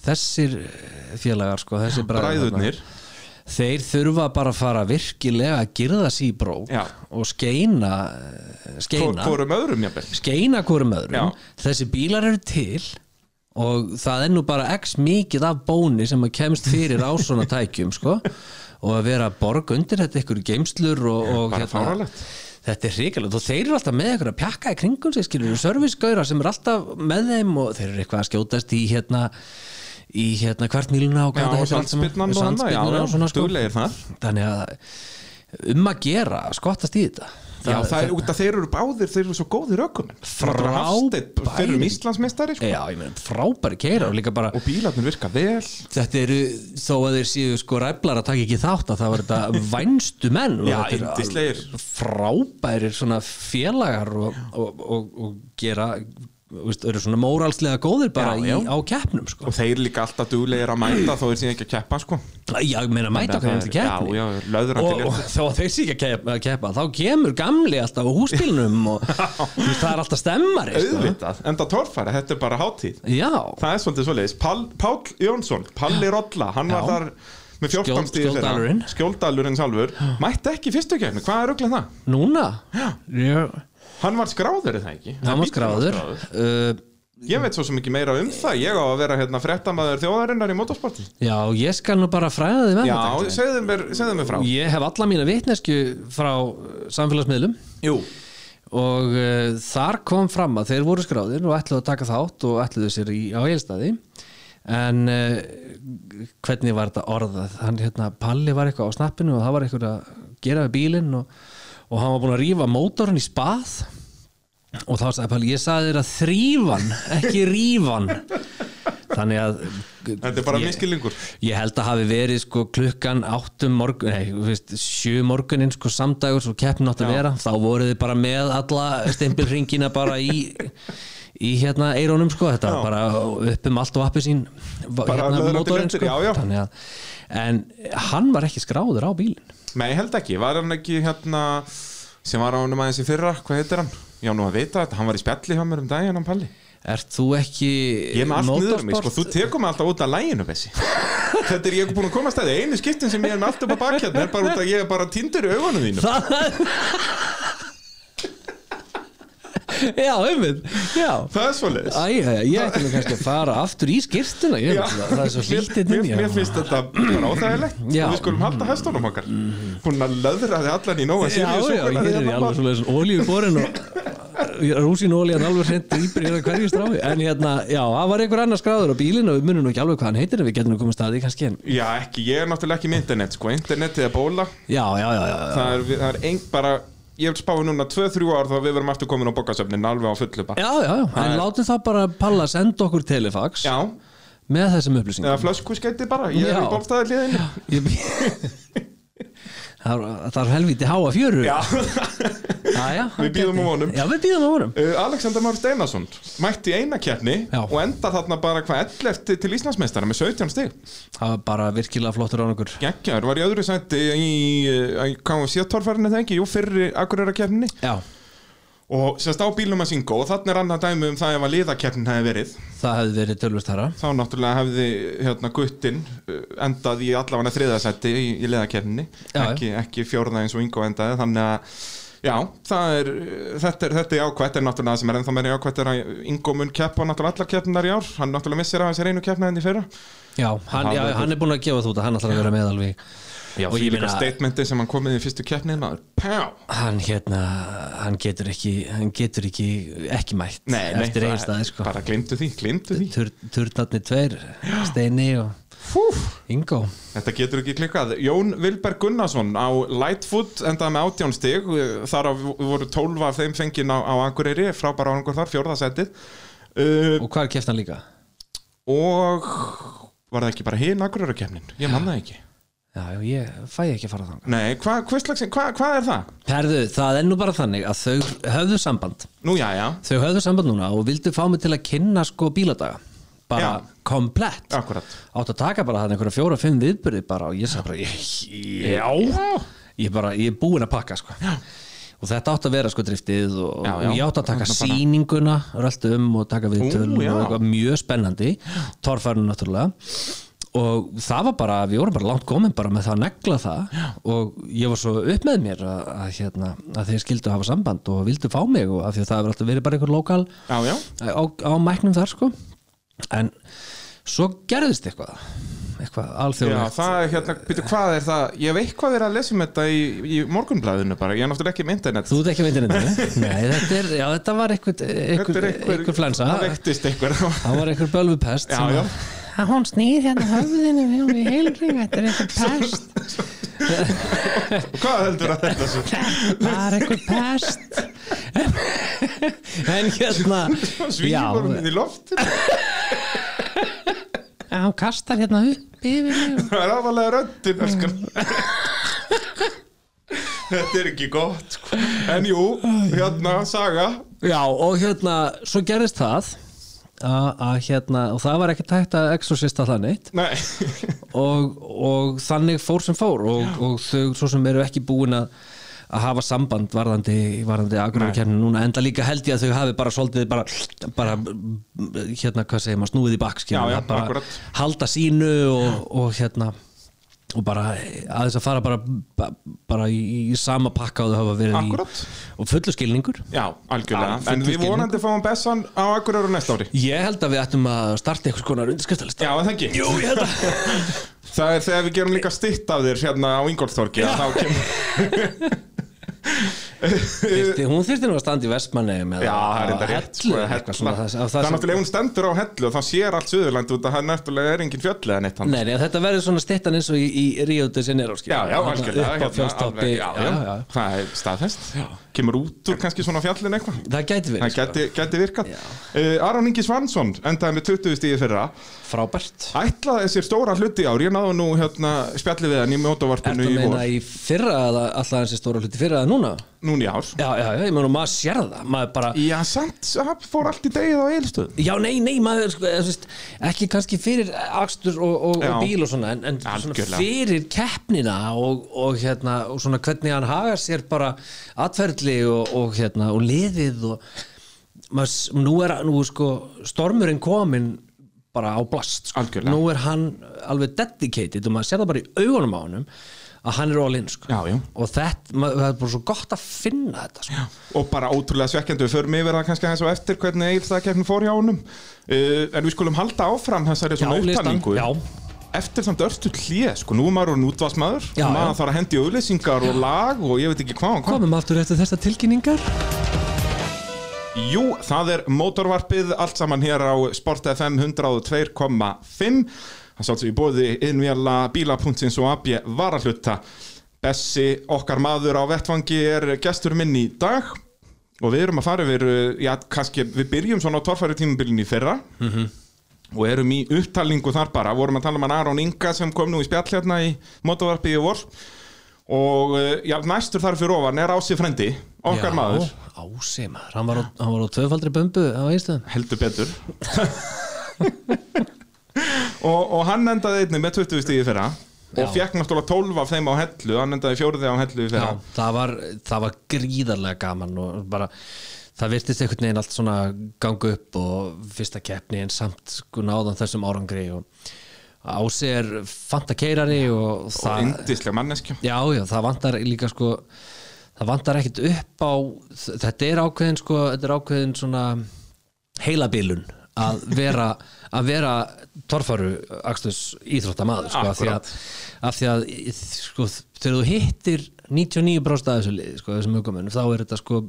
B: þessir félagar sko, þessir bræður þarna,
A: bræðurnir
B: þeir þurfa bara að fara virkilega að girða sig í brók
A: Já.
B: og skeina eh, skeina
A: hvor- hvorum öðrum jafnvel
B: skeina hverjum öðrum
A: Já.
B: þessi bílar eru til og það er nú bara x mikið af bóni sem að kemst fyrir á svona tækjum sko og að vera að borga undir þetta ykkur geimslur og, og hérna,
A: bara fáránlegt.
B: þetta er hrikalegt og þeir eru alltaf með ykkur að pjakka í kringum sig skilur við servicegauðra sem eru alltaf með þeim og þeir eru eitthvað að skjótast í hérna í hérna hvert mýluna og
A: Já,
B: hvað þetta heitir allt saman,
A: sandspinnan og annað, já,
B: sandspyrnan og svona sko
A: duglegir þar.
B: þannig að um að gera að skottast í þetta
A: Já, það er út að þeir eru báðir, þeir eru svo góðir ökumenn
B: Frábæri.
A: Þeir eru Íslandsmeistari sko.
B: já, ég meina frábæri keira og líka bara
A: Og bílarnir virka vel
B: þetta eru þó að þeir séu sko ræflar að taka ekki þátt að það var þetta vænstu menn og
A: Já,
B: þetta eru
A: yndislegir.
B: alveg frábærir svona félagar og, og, og, og gera veist, eru svona móralslega góðir bara
A: Já, já.
B: Í, á keppnum sko
A: Og þeir líka alltaf duglegir að mæta þó þeir síðan ekki að keppa sko.
B: já, ég meina
A: Þannig
B: mæta
A: að
B: hverjum
A: það
B: til
A: er-
B: keppni
A: Já, já, löðrandi
B: og, og
A: léttir.
B: þó að þeir sé ekki að keppa, að keppa þá kemur gamli alltaf á húsbílnum og þú veist, það er alltaf stemmari sko.
A: Auðvitað, enda torfæra, þetta er bara hátíð
B: já,
A: Það er svolítið svoleiðis Pál, Pál Jónsson, Palli Rolla Hann
B: Já.
A: var þar með 14
B: Skjóld-
A: stíð
B: skjóldalurinn.
A: Skjóldalurinn sjálfur Mætti ekki í fyrstu kefni, hvað er auðvitað það?
B: Núna? Já.
A: Hann var skráður er það ekki
B: Hann var
A: Bíllinn
B: skráður. Uh,
A: Ég veit svo sem ekki meira um það Ég á að vera hérna fréttamaður þjóðarinnar í motorsporti
B: já, ég skal nú bara fræða þig með
A: Já,
B: þetta.
A: segðu mér, segðu mér frá
B: Ég hef alla mína vitnesku frá uh, samfélagsmiðlum
A: Jú,
B: og uh, þar kom fram að þeir voru skráðir og ætluðu að taka þátt og ætluðu sér í, á heilstæði en uh, hvernig var þetta orðað hann hérna, Palli var eitthvað á snappinu og það var eitthvað að gera við bílinn og, og hann var búin að rífa mótorinn í spað og þá sagði Palli, ég sagði þér að þrýfan ekki rífan þannig að
A: þetta er bara
B: Ég-
A: miskilingur
B: Ég held að hafi verið sko klukkan 8 morgun, nei, þú veist, 7 morgunin sko samdagur svo keppin átt að vera þá voruð þið bara með alla stempilringina bara í í hérna eirónum sko, þetta var bara upp um allt og appi sín
A: Bara
B: hérna
A: löðrandi
B: mótorinn
A: lendir,
B: sko
A: já, já.
B: Þannig að, en hann var ekki skráður á bílinn
A: Nei, ég held ekki, var hann ekki hérna sem var á honum aðeins í fyrra, hvað heitir hann? Já, nú að vita þetta, hann var í spjalli hjá mér um daginn, hann Palli
B: Ert þú ekki
A: Ég er með allt niður um mig, sko,
B: motorsport?
A: þú tekur mig alltaf út af læginu, Bessi Þetta er ég búin að koma að stæði, einu skiptin sem ég er með allt upp á bakhjarn er bara út að ég er bara tindur í augunum þínu
B: Já, einmitt, já
A: Það er svoleiðis
B: Æja, ég ætti nú kannski að fara aftur í skýrtuna ég, veit það það er svo hérna hlítið
A: mér,
B: inn í
A: mér, mér
B: hana.
A: finnst þetta bara óþægilegt
B: Já.
A: og við skulum halda hæstunum okkar Búin að löðra þið allan í nóa
B: Já, já,
A: hérna
B: hér er ég alveg svolítið svona olíuborin og eh, rúsinólían alveg hreint rýpir hérna hverju stráfi en hérna, já, það var einhver annar skráður á bílinu og við munum nú ekki alveg hvað hann heitir en við getum nú komið staði kannski en
A: Já, ekki, ég er náttúrulega ekki með internet, sko, internetið er bóla
B: Já, já, já, já, já.
A: það er, það er einn bara ég vil spáði núna 2-3 ár þá við verum aftur komin á bókasöfnin alveg á fullu bara
B: Já, já, já, en látum það bara Palla senda okkur telefax
A: já,
B: með þessum upplýsingum
A: eða flöskuskeiti bara ég er
B: Já.
A: í bólstaði liðinu
B: Ég bý- Það er- það er helviti háa fjöru
A: já.
B: já, já,
A: Við bíðum
B: gæti-
A: og vonum.
B: Já, við býðum á vonum
A: Uh, Alexander Már Steinarsson mætti í eina keppni
B: Já.
A: og enda þarna bara hvað 11 til Íslandsmeistara með 17 stig
B: Það var bara virkilega flottur án okkur
A: Gekkjaður var í öðru sæti í, eh, í KFC-torfærinu þegar ekki, jú, fyrri akkurera keppni
B: Já,
A: og semst á bílum að syngu og þarna er annað dæmi um það ef að liðakeppnin hefði verið
B: það hefði verið tölvist þara
A: þá náttúrulega hefði hérna guttinn uh, endað í allavega þriðasætti í, í leðakerninni
B: Já,
A: ekki, ekki fjórða eins og yngo endaði þannig að já, það er, uh, þetta, er, þetta er jákvætt en náttúrulega það sem er ennþá meira jákvætt er að yngo mun keppa náttúrulega allar keppnar í ár hann náttúrulega missir af þessi reynu keppna enn í fyrra
B: Já, hann, já, hann er búin að gefa þú þetta, hann ætlar að vera með alveg
A: já,
B: og ég
A: líka
B: meina,
A: statementi sem hann komið í fyrstu keppnið maður, pjá
B: hann hérna hann getur ekki, hann getur ekki ekki mætt eftir
A: það-
B: einstæði sko.
A: bara glimtu því, glimtu því
B: Tur, Turnarnir tveir, Steini og
A: Fúf.
B: Ingo
A: Þetta getur ekki klikkað. Jón Vilberg Gunnarsson á Lightfoot endaði með 18 stig. Þar á voru 12 af þeim fengin á, á Akureyri, frábæra árangur þar, fjórðasætið. Uh,
B: og hvað er keftan líka?
A: og var það ekki bara hinn Akureyrarkefnin? Ég manna ekki.
B: Já, já, ég fæ ekki að fara þangað
A: Nei, hvað hva, hva, hva er það?
B: Herðu, það er nú bara þannig að þau höfðu samband
A: Nú, já, já,
B: þau höfðu samband núna og vildu fá mig til að kynna sko bíladaga bara
A: Já.
B: komplett
A: akkurat.
B: átt að taka bara hann einhverja fjóra-fimm viðbyrði bara og ég sagði bara ég, já, ég er bara, ég er búin að pakka sko. og þetta átt að vera sko driftið og,
A: Já, já.
B: og ég átt að taka
A: Þarna bara-
B: sýninguna rölt um og taka við töl og
A: já.
B: eitthvað mjög spennandi torfærinu náttúrulega og það var bara, við vorum bara langt komin bara með það að negla það og ég var svo upp með mér að, að, hérna, að þeir skildu hafa samband og vildu fá mig og af því að það hefur alltaf verið bara einhver lokal
A: Já, já.
B: á, á mæknum þar sko en svo gerðist eitthvað eitthvað
A: Já,
B: alþjóðlegt
A: það er hérna, býtu hvað er það Ég hef eitthvað verið að lesa um þetta í, í morgunblæðinu bara, ég er náttúrulega ekki með internet
B: Þú ert ekki veitir þetta? Nei, þetta, er, já, þetta var einhver, einhver, einhver flensa
A: Það vektist einhver
B: Það var einhver bölvupest
A: Já,
B: sem
A: já.
B: að-
C: að hún snýr hérna höfðinu hún er heilring, þetta er eitthvað pest
A: Hvað heldur að þetta svo?
C: það er eitthvað pest
B: En hérna
A: Svífur minn í loft
C: að hún kastar hérna upp yfir mig
A: Það er aðalega röddin elskan. Þetta er ekki gott sko. En jú, hérna, saga
B: Já, og hérna, svo gerðist það að að hérna, og það var ekkert hægt að exorcista það neitt
A: Nei,
B: og, og þannig fór sem fór og, og þau svo sem eru ekki búin að að hafa samband varðandi, varðandi agrarkernin núna, enda líka held ég að þau hafi bara svolítið bara, bara hérna, hvað segir maður, snúið í bakk
A: Já, já,
B: bara
A: akkurat.
B: halda sínu og, og hérna og bara aðeins að fara bara, bara í, í sama pakka og þau hafa verið
A: Akkurat.
B: í og fullu skilningur
A: já, algjörlega
B: Já,
A: En við
B: fullur
A: vonandi fáum Bessan á Akureyri á næsta ári
B: Ég held að við ættum að starta einhvers konar undirskriftalista
A: Já, en það ekki
B: Jú, ég held að
A: Það er þegar við gerum líka stytt af þér hérna á Ingolstorki að þá kemur
B: Þyrfti- Hún þyrfti nú að standa í vestmannegum
A: Já, það er þetta rétt sko,
B: hellu,
A: hella.
B: eitthvað svona, það, það,
A: Það er náttúrulega ef hún stendur á hellu og þá sér allt Suðurland út að það náttúrulega er engin fjöll eða neitt hann
B: Nei, nei, þetta verður svona stittan eins og í, í Rio de Janeiro skilur.
A: Já, já,
B: Þarna
A: algjörlega hérna,
B: Upp á fjólstoppi
A: alveg, já, já, Það er staðfest Kemur út úr kannski svona fjallin eitthvað
B: Það gæti verið
A: Það gæti, gæti virkað
B: Já.
A: uh, Aron Ingi Svansson endaði með 20 stíði fyrra
B: sko. Frábært
A: Ætlaði sér stóra hluti í ár Ég náðu nú hérna spjallið við hann í
B: Ertu
A: mótavarpinu
B: að
A: í
B: meina
A: vor
B: í fyrra að alltaf hans er stóra hluti fyrra að núna?
A: Núna í ár
B: Já, já, já, ég meina maður sér það Maður bara
A: Já, samt það fór allt í degið á eilstöðum
B: Já, nei, nei, maður, sko, eða, þú veist, ekki kannski fyrir akstur og, og, og
A: Já.
B: bíl og svona, en, en svona
A: Algjörlega.
B: fyrir keppnina og, og, hérna, og svona hvernig hann hagar sér bara atferðli og, og, hérna, og liðið og maður, s- nú er nú, er, sko, stormurinn komin bara á blast, sko.
A: Algjörlega.
B: nú er hann alveg dedicated og maður sér það bara í augunum á honum að hann er all in, sko.
A: Já, já.
B: og þetta, maður, það er bara svo gott að finna þetta, sko.
A: og bara ótrúlega svekkjandi við förum yfir það kannski hans og eftir hvernig eilstaðakefnin fór hjá honum uh, en við skulum halda áfram þessari svona
B: Já, listan,
A: upptalningu
B: já.
A: eftir samt örstu hlýja sko, nú er maður orðinn útvarpsmaður
B: Já,
A: og maður
B: já.
A: þarf að hendi auðlýsingar og lag og ég veit ekki hvað og hvað
B: komum aftur eftir þesta tilkynningar
A: Jú, það er mótorvarpið allt saman hér á Sport FM 102.5 Það sátt sem í bóði innvjala bíla.sins og AB varahluta Bessi, okkar maður á vettvangi er gestur minn í dag og við erum að fara yfir, uh, já, kannski við byrjum svona á torfæri tímabilin í fyrra og erum í upptalningu þar bara vorum að tala um hann Aron Inga sem kom nú í spjall hérna í mótorvarpið í vor og uh, já, næstur þar fyrir ofan er Ási Frendi, okkar maður
B: Ási maður, hann var á, hann var á tvöfaldri bömbu á Ísland
A: heldur betur og, og hann endaði einnig með 20 stíði fyrra og
B: Já.
A: fekk náttúrulega 12 af þeim á hellu hann endaði fjórði á hellu í fyrra
B: Já, það var, það var gríðarlega gaman og bara það virtist einhvern veginn allt svona ganga upp og fyrsta keppni en samt sko náðan þessum árangri og Ási er fantakeirari og
A: og
B: það
A: indislega manneskja
B: Já, já, það vantar líka sko það vantar ekkit upp á þetta er ákveðin sko, þetta er ákveðin svona heilabilun að vera, að vera torfaru aksturs íþróttamaður sko, af því að, af því að sko, þegar þú hittir 99% af þessu liði, sko, þessum aukumenn þá er þetta sko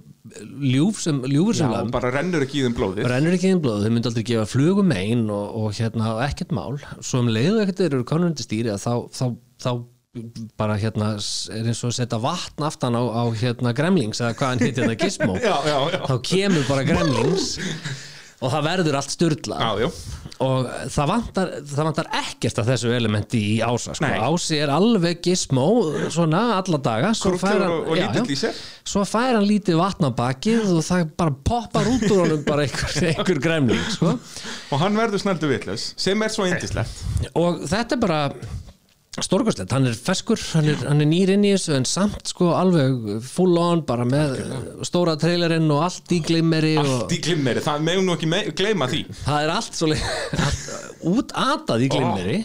B: ljúf sem, ljúfur
A: Já,
B: sem lamb
A: bara rennur ekki í þeim blóði
B: rennur ekki inn blóð, þau myndi aldrei gefa flugum einn og, og hérna og ekkert mál svo um leiðu ekkert þeir eru konur undir stýri að þá, þá, þá bara hérna s- er eins og að setja vatn aftan á, á hérna gremlings eða hvað hann heitir þetta gizmo
A: Já, já, já.
B: þá kemur bara gremlings og það verður allt styrla
A: Já, já.
B: og það vantar, það vantar ekkert af þessu elementi í ása sko.
A: Nei.
B: ási er alveg gizmo svona alla daga svo
A: Krútlegur
B: fær
A: og- og
B: já,
A: lítill
B: já.
A: í sér.
B: svo fær hann lítið vatn á bakið og það bara poppar út úr honum bara einhver, einhver gremling sko.
A: og hann verður snældu vitlaus sem er svo indislegt
B: og þetta er bara stórkostlegt, hann er feskur hann er, hann er nýr inn í þessu en samt sko alveg full on bara með stóra trailerinn og allt í glimmeri og
A: allt í glimmeri, það meðum nú ekki me gleyma því
B: uh, það er allt svo út atað í glimmeri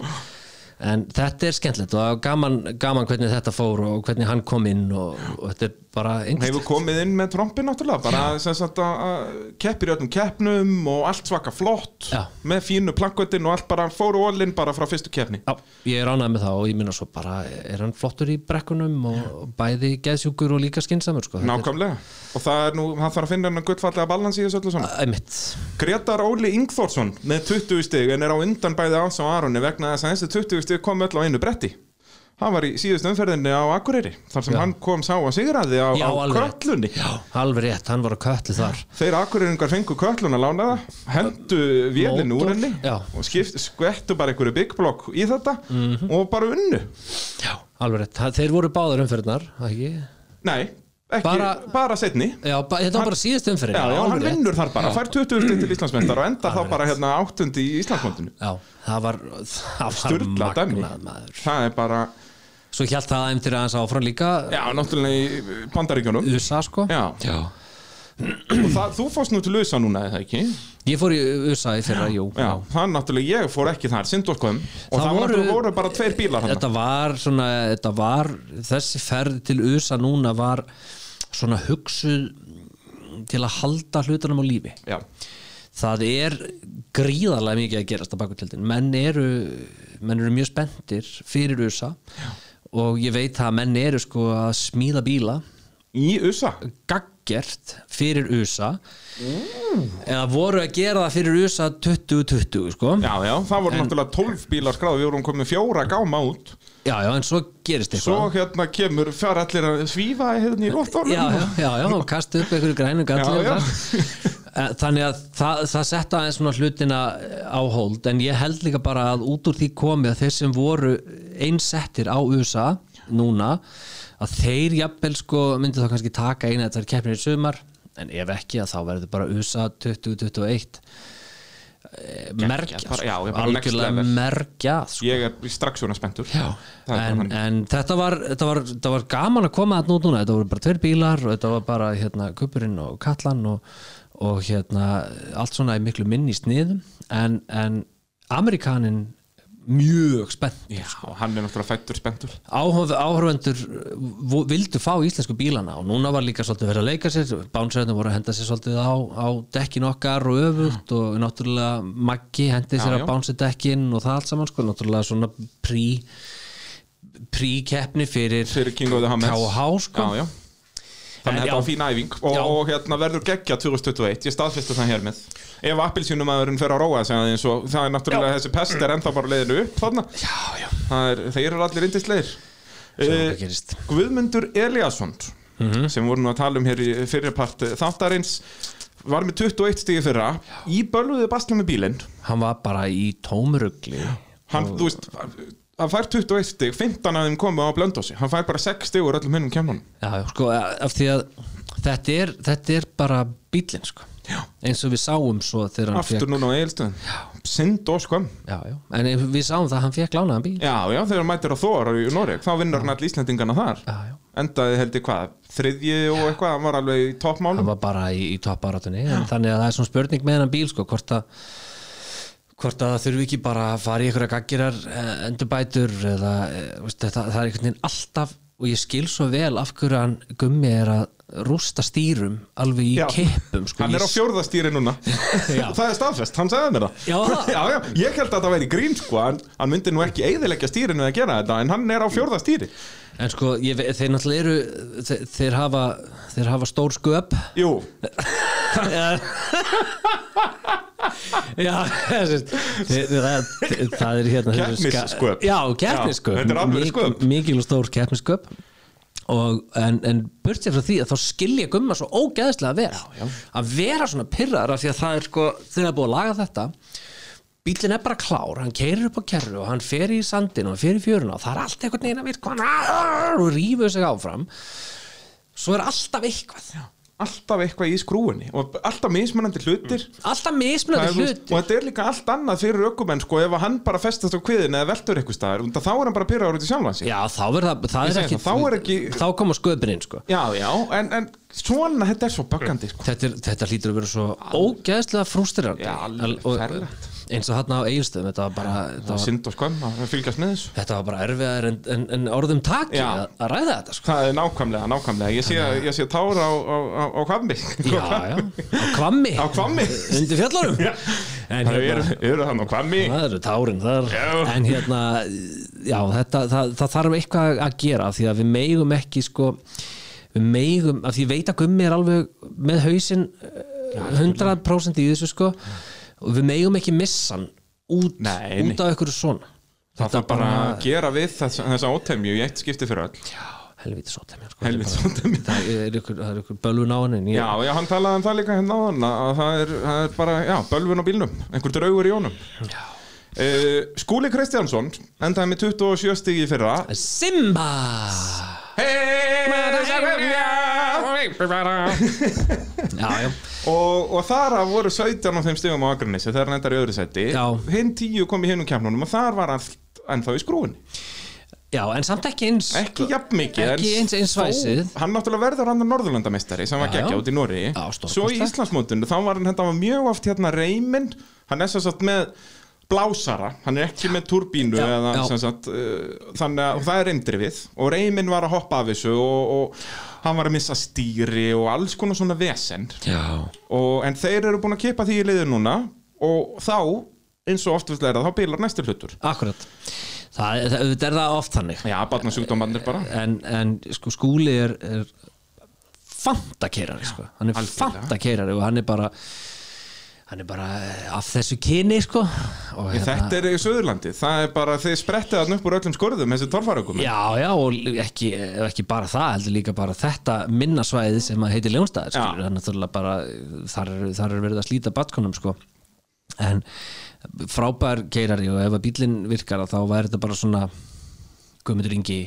B: en þetta er skemmtilegt og það var gaman, gaman hvernig þetta fór og hvernig hann kom inn og, og þetta er bara einhvern
A: hefur komið inn með trompin náttúrulega bara sem sagt að- að keppir í öllum keppnum og allt svaka flott
B: Já.
A: með fínu plankvöldin og allt bara fóru ólinn bara frá fyrstu keppni
B: Já, ég er ánægð með það og ég minna svo bara er hann flottur í brekkunum og og bæði geðsjúkur og líka skinsamur sko. Þetta er-
A: nákvæmlega og það er nú, hann þarf að finna hennar guttfallega balans í þessu öllu saman
B: Einmitt,
A: Gretar Óli Ingþórsson með 20 stig en er á undan bæði ás og Aroni vegna þess að þessi 20 stig kom öll á einu bretti hann var í síðust umferðinni á Akureyri þar sem hann kom sá að sigraði á,
B: Já,
A: á
B: alveg.
A: köllunni
B: alveg rétt, hann var á köttli þar
A: þeir Akureyringar fengu köllun að lána það hendu vélinn úr
B: Mótor,
A: henni
B: já.
A: og skipt, skvettu bara einhverju byggblokk í þetta
B: Mhm.
A: og bara unnu
B: Já, alveg rétt, Það- þeir voru báðar umferðnar ekki?
A: nei, ekki, bara,
B: Bara-
A: setni
B: Já, ba þetta var bara síðust umferðin
A: já, já,
B: alveg
A: hann
B: rétt.
A: vinnur þar bara, fær 20 stig til Íslandsmyndar og endar þá
B: Alveg
A: bara hérna áttundi í Íslandsmyndinu
B: Já, það var, það var
A: Sturla dæmi.
B: magnað maður
A: það er bara
B: Svo hjælt það aðeim til aðeins áfram líka
A: Já, náttúrulega í bandaríkjunum
B: USA sko
A: Já,
B: Já.
A: og það, þú fórst nú til USA núna eða ekki
B: Ég fór í USA í fyrra, jú
A: Já, það náttúrulega, ég fór ekki þar, sindorkum Og
B: Það
A: það,
B: voru-
A: voru, voru bara tveir bílar hann
B: þetta var svona þetta var, þessi ferð til USA núna var svona hugsuð til að halda hlutunum á lífi
A: Já,
B: það er gríðarlega mikið að gerast á bakutildin, menn eru menn eru mjög spenntir fyrir USA Já. og ég veit að menn eru sko að smíða bíla
A: í USA
B: gaggjert fyrir USA eða voru að gera það fyrir USA 2020 sko
A: Já, já, það voru náttúrulega 12 bílar skráð Við vorum komið fjóra gáma út
B: já, já, en svo gerist eitthvað
A: Svo hérna kemur, fjár allir að svífa hérna í loftónum
B: já, já, já, já, og kasta upp einhverju grænu galli
A: Já, já.
B: og það. Eh, þannig að það, það setta aðeins svona hlutina eh, á hold en ég held líka bara að út úr því komi að þeir sem voru einsettir á USA núna að þeir jafnvel sko myndi þá kannski taka eina þessar keppnir í sumar en ef ekki að þá verður bara USA 2021 eh, mergjað
A: bara- já,
B: sko,
A: já, bara next
B: algjörlega
A: level.
B: mergjað sko.
A: Ég er strax svona spenntur Já, það er bara
B: En,
A: þannig.
B: en þetta, var, þetta, var, þetta var gaman að koma að núna, þetta voru bara tveir bílar og þetta var bara hérna kuppurinn og kallan og, og hérna allt svona í miklu minni sniðum en, en Amerikanin mjög spennt
A: Já, sko, hann er náttúrulega fættur spenntur
B: áhörf, áhörvendur eh, vildu fá íslensku bílana og núna var líka svolítið verið að leika sér bánsverðinu voru að henda sér svolítið á, á dekkin okkar og öfugt og náttúrulega Maggi hendi sér
A: Já,
B: að
A: já.
B: bánsi dekkin og það allt saman sko náttúrulega svona prí príkeppni fyrir,
A: Fyrir King of the Hammers
B: KH sko
A: Já, já Þannig
B: En
A: að þetta var
B: já.
A: fín æfing og,
B: Já.
A: og hérna verður geggja 2021, ég staðfesta það hér með Ef appilsjónumæðurinn fer að róa segja eins og það er náttúrulega þessi pest er ennþá bara leiðinu upp þarna
B: já, já,
A: Það er, Þeir eru allir indisleir
B: það
A: uh,
B: gerist Mhm.
A: Guðmundur Eliasson sem voru nú að tala um hér í fyrirpart þáttarins var með 21 stíði fyrra í bölvuðu basla með bílinn
B: hann var bara í tómrugli
A: hann, þú veist, hann fær 21 stíð 15 af þeim komu á blöndósi hann fær bara 6 stíð úr öllum hinnum kemnunum
B: já, já, sko, af því að þetta er, þetta er bara bílinn sko
A: Já.
B: eins og við sáum svo þegar hann
A: aftur
B: fékk
A: núna á eigilstöðum synd og skömm
B: já, já. en við sáum það að hann fekk lánaðan bíl
A: Já, já, þegar hann mætir á Þór í Noreg þá vinnur hann all Íslendingana þar
B: já, já.
A: endaði held ég hvað, þriðji og eitthvað hann var alveg í
B: hann
A: toppmálum
B: var bara í, í topparátunni en þannig að það er svona spurning með hennan bíl sko, hvort að hvort að það þurfi ekki bara að fara í einhverja gaggirar eh, endurbætur eða eh, veist, þetta, það er einhvern veginn alltaf og ég skil svo vel af hverju hann gummi er að rústa stýrum alveg í
A: Já.
B: keppum sko.
A: hann er á
B: Ég-
A: fjórðastýri núna
B: Já.
A: það er staðfest, hann sagði mér það
B: Já, það.
A: já, já, ég held að það væri grín sko hann, hann myndi nú ekki eigðilegja stýrinu að gera þetta en hann er á fjórðastýri
B: en sko, ég, ve- þeir náttúrulega eru þeir, þeir, hafa, þeir hafa stór sköp
A: Jú,
B: Já, já þessi, þið, það, það er hérna
A: Keppnissköp.
B: Já, keppnissköp
A: Já, þetta er alveg sköp.
B: Mik- Mikil og stór keppnissköp og, en, en burt sér frá því að þá skilja gumma svo ógeðslega vel já, já. að vera svona pyrrar af því að það er sko þegar það er búið að laga þetta bílinn er bara klár, hann keirir upp á kerru og hann fer í sandin og hann fer í fjöruna og það er allt eitthvað neina við og rýfur sig áfram svo er alltaf eitthvað
A: alltaf eitthvað í skrúinni og alltaf mismunandi hlutir Það
B: alltaf
A: er,
B: mismunandi
A: þú veist, og
B: hluti
A: þetta er líka allt annað fyrir ökumenn sko, ef að hann bara festast á kviðin eða veltur eitthvað staðar, þá er hann bara pyrraður út í sjálfan sig
B: Já, þá er það, það
A: Ég
B: er
A: segi
B: ekki,
A: það, þá er ekki-
B: þá koma sköpinn inn sko.
A: Já, já, en, en svona, þetta er svo bakkandi sko.
B: þetta, er, þetta hlýtur að vera svo ógæðslega frústirandi
A: Já, alveg ferlegt.
B: eins og þarna á eiginstöðum þetta var bara, þetta
A: það var
B: var,
A: synd og skömm að fylgjast með þessu
B: þetta var bara erfiðar en, en, en orðum taki
A: Já.
B: að, að ræða þetta sko.
A: það er nákvæmlega, nákvæmlega ég sé, ég sé tára á, á, á, á kvammi
B: já, já, á kvammi
A: Sko. á kvammi
B: undir fjallarum
A: Já.
B: en
A: það eru eru hann á kvammi
B: það eru tárin þar
A: Já.
B: en hérna, já, þetta, það, það þarf eitthvað að gera af því að við megum ekki sko, við megum, af því ég veit að gummi er alveg með hausinn eh, 100% í þessu sko og við megum ekki missan út,
A: Nei, nei.
B: út af ykkur svona
A: það þarf bara að gera við þess, þessa ótemju í eitt skipti fyrir öll
B: já, helviti sót sko,
A: Helvítis
B: Þetta er bara-
A: ótemju.
B: það er ykkur, það er ykkur bölvun á henni en ég-
A: já, já, hann talaði um það líka hérna á hann að það er, það er bara, já, bölvun á bílnum einhver draugur í honum
B: já.
A: uh, Skúli Kristjánsson endaði með 27 stig í fyrra
B: Simba
A: hey,
B: já, já,
A: og, og þar af voru 17 af þeim stigum á Akranesi þegar hann endar í öðru seti
B: Já.
A: hinn 10 kom í hinum kemnunum og þar var hann ennþá í skrúinni
B: já, en samt ekki eins
A: ekki jafn mikið
B: Sko, Ekki
A: en
B: eins- eins
A: þó-
B: svæsið.
A: hann náttúrulega verður hann að Norðurlandameistari sem var
B: Já, já.
A: geggja út í Nóri
B: Já, stórkostlegt.
A: svo í Íslandsmótinu þá var hann þetta var mjög oft hérna reymin hann er sem sagt með blásara hann er ekki með turbínu
B: Já,
A: eða,
B: já.
A: sem Sagt, uh, þannig að og það er reyndrifið og reymin var að hoppa af þessu og, og hann var að missa stýri og alls konar svona vesend
B: já,
A: og, en þeir eru búin að kipa því í liðu núna og þá, eins og oft vil læra þá bilar næstur hlutur
B: Akkurat Það er, það, auðvitað er það oft þannig
A: já, barnasjúkdómannir bara
B: En, en sko, skúli er, er fantakeirari sko. Hann er
A: algjörlega.
B: fantakeirari og hann er bara hann er bara af þessu kyni sko. og
A: þetta er í Suðurlandi, það er bara þeir sprettið hann upp úr öllum skorðum, þessi torfarökum
B: Já, já, og ekki, ef ekki bara það heldur líka bara þetta minnasvæði sem að heiti Ljónstæðir
A: Já.
B: skilur, þannig að bara þar er, þar er verið að slíta batkonum sko en frábær keirari og ef að bílinn virkar þá væri þetta bara svona guðmundur yngi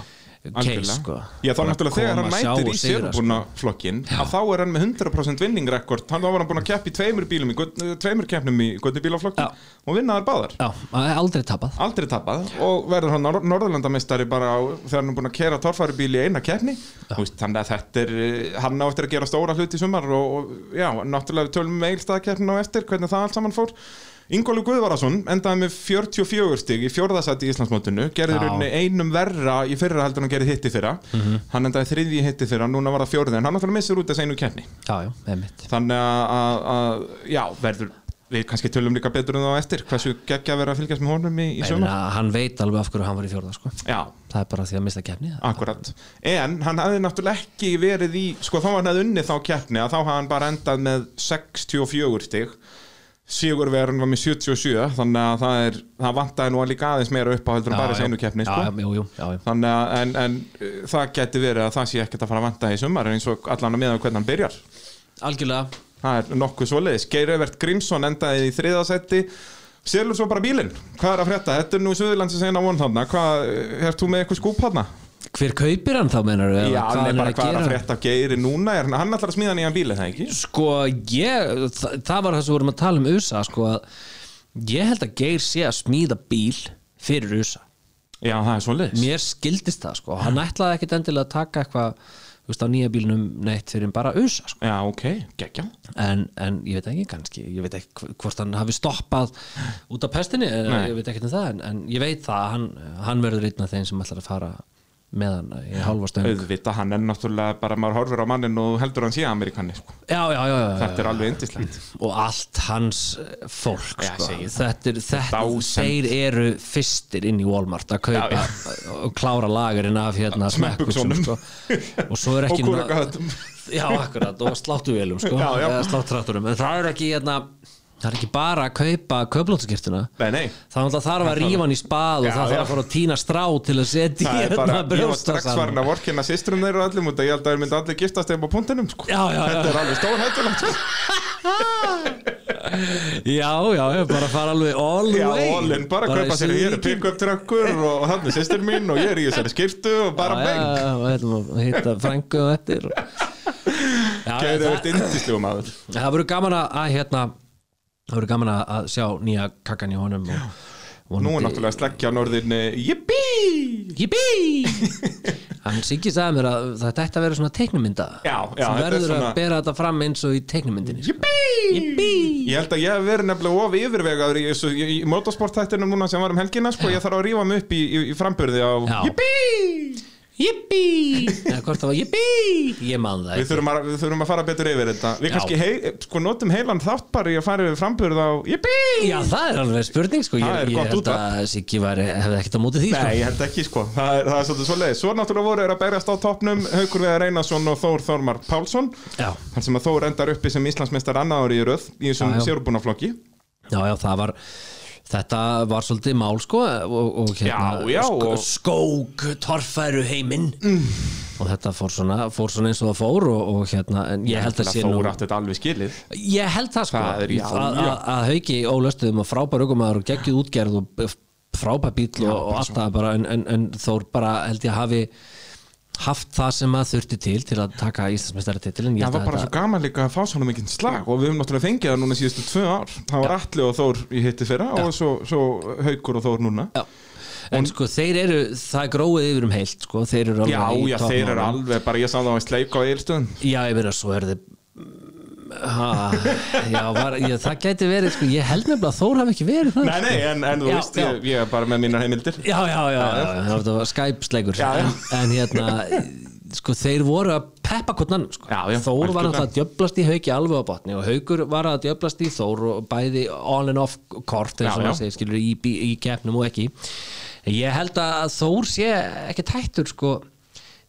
B: case sko
A: Já, þá
B: Bara
A: náttúrulega þegar
B: koma
A: hann
B: að sjá
A: mætir
B: og
A: í
B: sigra, sko.
A: sérbúna flokkin að þá er hann með 100% vinningrekord hann þá var hann búin að keppa í tveimur bílum í götn- tveimur keppnum í götni bílaflokkin
B: Já.
A: og vinnaðar báðar
B: sko. Já, hann er aldrei tapað
A: aldrei tapað og verður hann nor- norðurlandameistari bara á, þegar hann er búin að kera torfæribíl í eina keppni Þú veist, þannig að þetta er eh, hann á eftir að gera stóra hluti í sumar og, og já, náttúrulega við tölum með eilstaðakeppnin á eftir hvernig það allt saman fór Ingólu Guðvarason endaði með 44 stig í fjórðasæti í Íslandsmótinu gerði
B: Já.
A: rauninni einum verra í fyrra heldur en hann gerði hitt í fyrra hann endaði þriði í hitt í fyrra, núna var það fjórði en hann náttúrulega missur út þess einu keppni
B: Já, já, með mitt
A: þannig að, að, að já, verður við kannski tölum líka betur um það á eftir hversu geggja verið að fylgjast með honum í, í
B: Ég
A: sumar
B: meina, uh, Hann veit alveg af hverju hann var í fjórða sko
A: Já,
B: Það er bara því að mista kefni
A: akkurat En hann hafði náttúrulega ekki verið í Sko þá hann hafði unnið þá keppni að Þá hafði hann bara endað með 64 stig Sigurverðin var með 77 Þannig að það, er, það vantaði nú að líka aðeins meira upp á heldur en bara þessi einu keppni sko.
B: Já, já, jú, jú, já, já
A: Þannig að en, en, uh, það geti verið að það sé ekkert að fara að vanta í sumar eins og allan að meða hvernig hann byrjar
B: Algjörlega
A: Það er nokkuð svoleiðis Geir Evert Grímsson endaði í þriðasetti Selur svo bara bílinn, hvað er að frétta? Þetta er nú Suðurlandsins eina von þarna Hvað, er þú með eitthvað skúp þarna?
B: Hver kaupir hann þá meinar við?
A: Já, hann er bara hvað er að frétta af Geiri núna er, hann- Hann ætlar að smíða nýjan bíl, er það ekki?
B: Sko, ég, það, það var það sem við vorum að tala um USA sko, að ég held að Geir sé að smíða bíl fyrir USA
A: Já, það er svoleiðis
B: Mér skildist það, sko Hann ætlaði ekkit endilega að taka eitthvað þú veist, á nýja bílnum neitt fyrir en bara USA sko.
A: Já, ok, geggja
B: en, en ég veit ekki kannski ég veit ekki hv- hvort hann hafi stoppað út af pestinni,
A: Nei.
B: Nei. ég veit ekki um það en, en ég veit það að hann, hann verður einn af þeim sem ætlar að fara með hann í hálfa stöng
A: Auðvita, hann er náttúrulega bara maður horfir á mannin og heldur hann sé Amerikanni sko.
B: Já, já, já, já, já.
A: Þetta er alveg yndislegt
B: og allt hans eh, fólk
A: Já,
B: sko.
A: segi það.
B: þetta er, þetta,
A: Dásend.
B: þeir eru fyrstir inn í Walmart að kaupa
A: Já,
B: og klára lagerinn af hérna
A: Smekkbuxunum.
B: smekkbuxum, sko. og svo er
A: Og
B: ekki
A: kúrekahöttum.
B: já, akkurat, og sláttuvélum sko.
A: Já, já.
B: eða sláttrætturum, en það er ekki hérna, það er ekki bara að kaupa köflótskirtuna
A: Nei, nei,
B: Það náttúrulega þarf að rífa hann í
A: Já,
B: spað og það
A: já.
B: þarf að fara að tína strá til að setja í
A: það er
B: hérna
A: bara Ég var
B: brjósta
A: strax
B: saman.
A: farin að vorkina sýstrum þeirra öllum út að Ég held að þeir myndi allir giftast þeim á punktinum sko.
B: Já, já, já.
A: Þetta er alveg stór hættulegt sko.
B: Já, já, já, bara fara alveg all the
A: Já,
B: way
A: Olin, bara kaupa sér Ég er pick-up trakkur og hann er sýstur mín og ég er í þessari skiptu og bara beng
B: beng hérna Hitta frængu og eftir og- já, hérna,
A: Geiri
B: það,
A: verið yndislegu maður
B: það verður gaman að að, hérna, það verður gaman að- að sjá nýja kakkan í honum og,
A: Nú er náttúrulega sleggja norðin Jippi!
B: Jippi! Hann síkist að mér að þetta ætti að vera svona teiknumynda
A: Já, já, þetta
B: Þú
A: er
B: verður
A: svona-
B: að bera þetta fram eins og í teiknumyndinni sko.
A: Jippi!
B: Jippi!
A: Ég held að ég hef verið nefnilega of yfirvegaður í, þessu- í, í motorsportættinu núna sem var um helgina sko, ég þarf að rífa mig upp í, í, í framburði á
B: Já.
A: Jippi!
B: Jippi! Eða hvort það var jippi? Ég man það
A: Við
B: ekki.
A: þurfum, að, við þurfum að fara betur yfir þetta Við
B: Já.
A: kannski hei, sko, notum heilan þátt bara í að fara yfir framburð á Jippi!
B: Já, það er alveg spurning sko
A: Það er
B: Ég,
A: gott
B: ég held
A: útvarp.
B: að Siggi var, hefði ekkert á móti því
A: Nei, ég held ekki sko, það er, það er svolítið svo leið Svo náttúrulega voru þeir að berjast á toppnum Haukur Veðar Einarsson og Þór Þormar Pálsson
B: sko. Já,
A: Þar sem að Þór endar uppi sem Íslandsmeistar annað ári í röð Í þessum
B: Já, já.
A: sérbúnaflokki
B: Já, já, það var Þetta var svolítið mál sko og, og hérna,
A: Já, já,
B: sk
A: og- Mm.
B: skók torfæru heiminn og þetta fór svona, fór svona eins og það fór og, og hérna, en ég held að sé nú
A: Þór átti þetta alveg skilið
B: ég held það sko
A: Það er- já,
B: að-
A: já.
B: að- að hauki ólöstuðum og frábær aukumæður og geggjuð útgerð og eh, frábær bíl og, og allt það bara en, en, en Þór bara held ég hafi haft það sem að þurfti til til að taka Íslandsmeistari titilin
A: Það var bara svo gaman líka að fá svona mikinn slag og við höfum náttúrulega fengið það núna síðustu tvö ár Það var Atli og Þór í hitti fyrra og svo, svo Haukur og Þór núna
B: Já. En sko þeir eru, það er gróið yfir um heilt sko, þeir eru alveg
A: Já,
B: í
A: já, þeir eru
B: toppmálum.
A: alveg bara, ég sá það á sleik á eilstöðum
B: Já, ég meina, svo er þið ha, já, var, ég, það gæti verið sko, ég held nefnilega að Þór hafi ekki verið það
A: Nei, nei, en, en þú
B: Já,
A: veist,
B: já.
A: Ég, ég er bara með mínar heimildir
B: Já, já, já, já, já, það var Skype-sleikur
A: Já, já.
B: en, en hérna, sko, þeir voru að peppa hvort annan, sko
A: Já, já,
B: Þór var
A: algjörlega.
B: náttúrulega að djöblast í hauki alveg á botni og haukur var að djöblast í Þór og bæði on and off kort eins
A: Já,
B: og
A: já.
B: maður segir, skilur, í, í, í keppnum og ekki Ég held að Þór sé ekki tættur, sko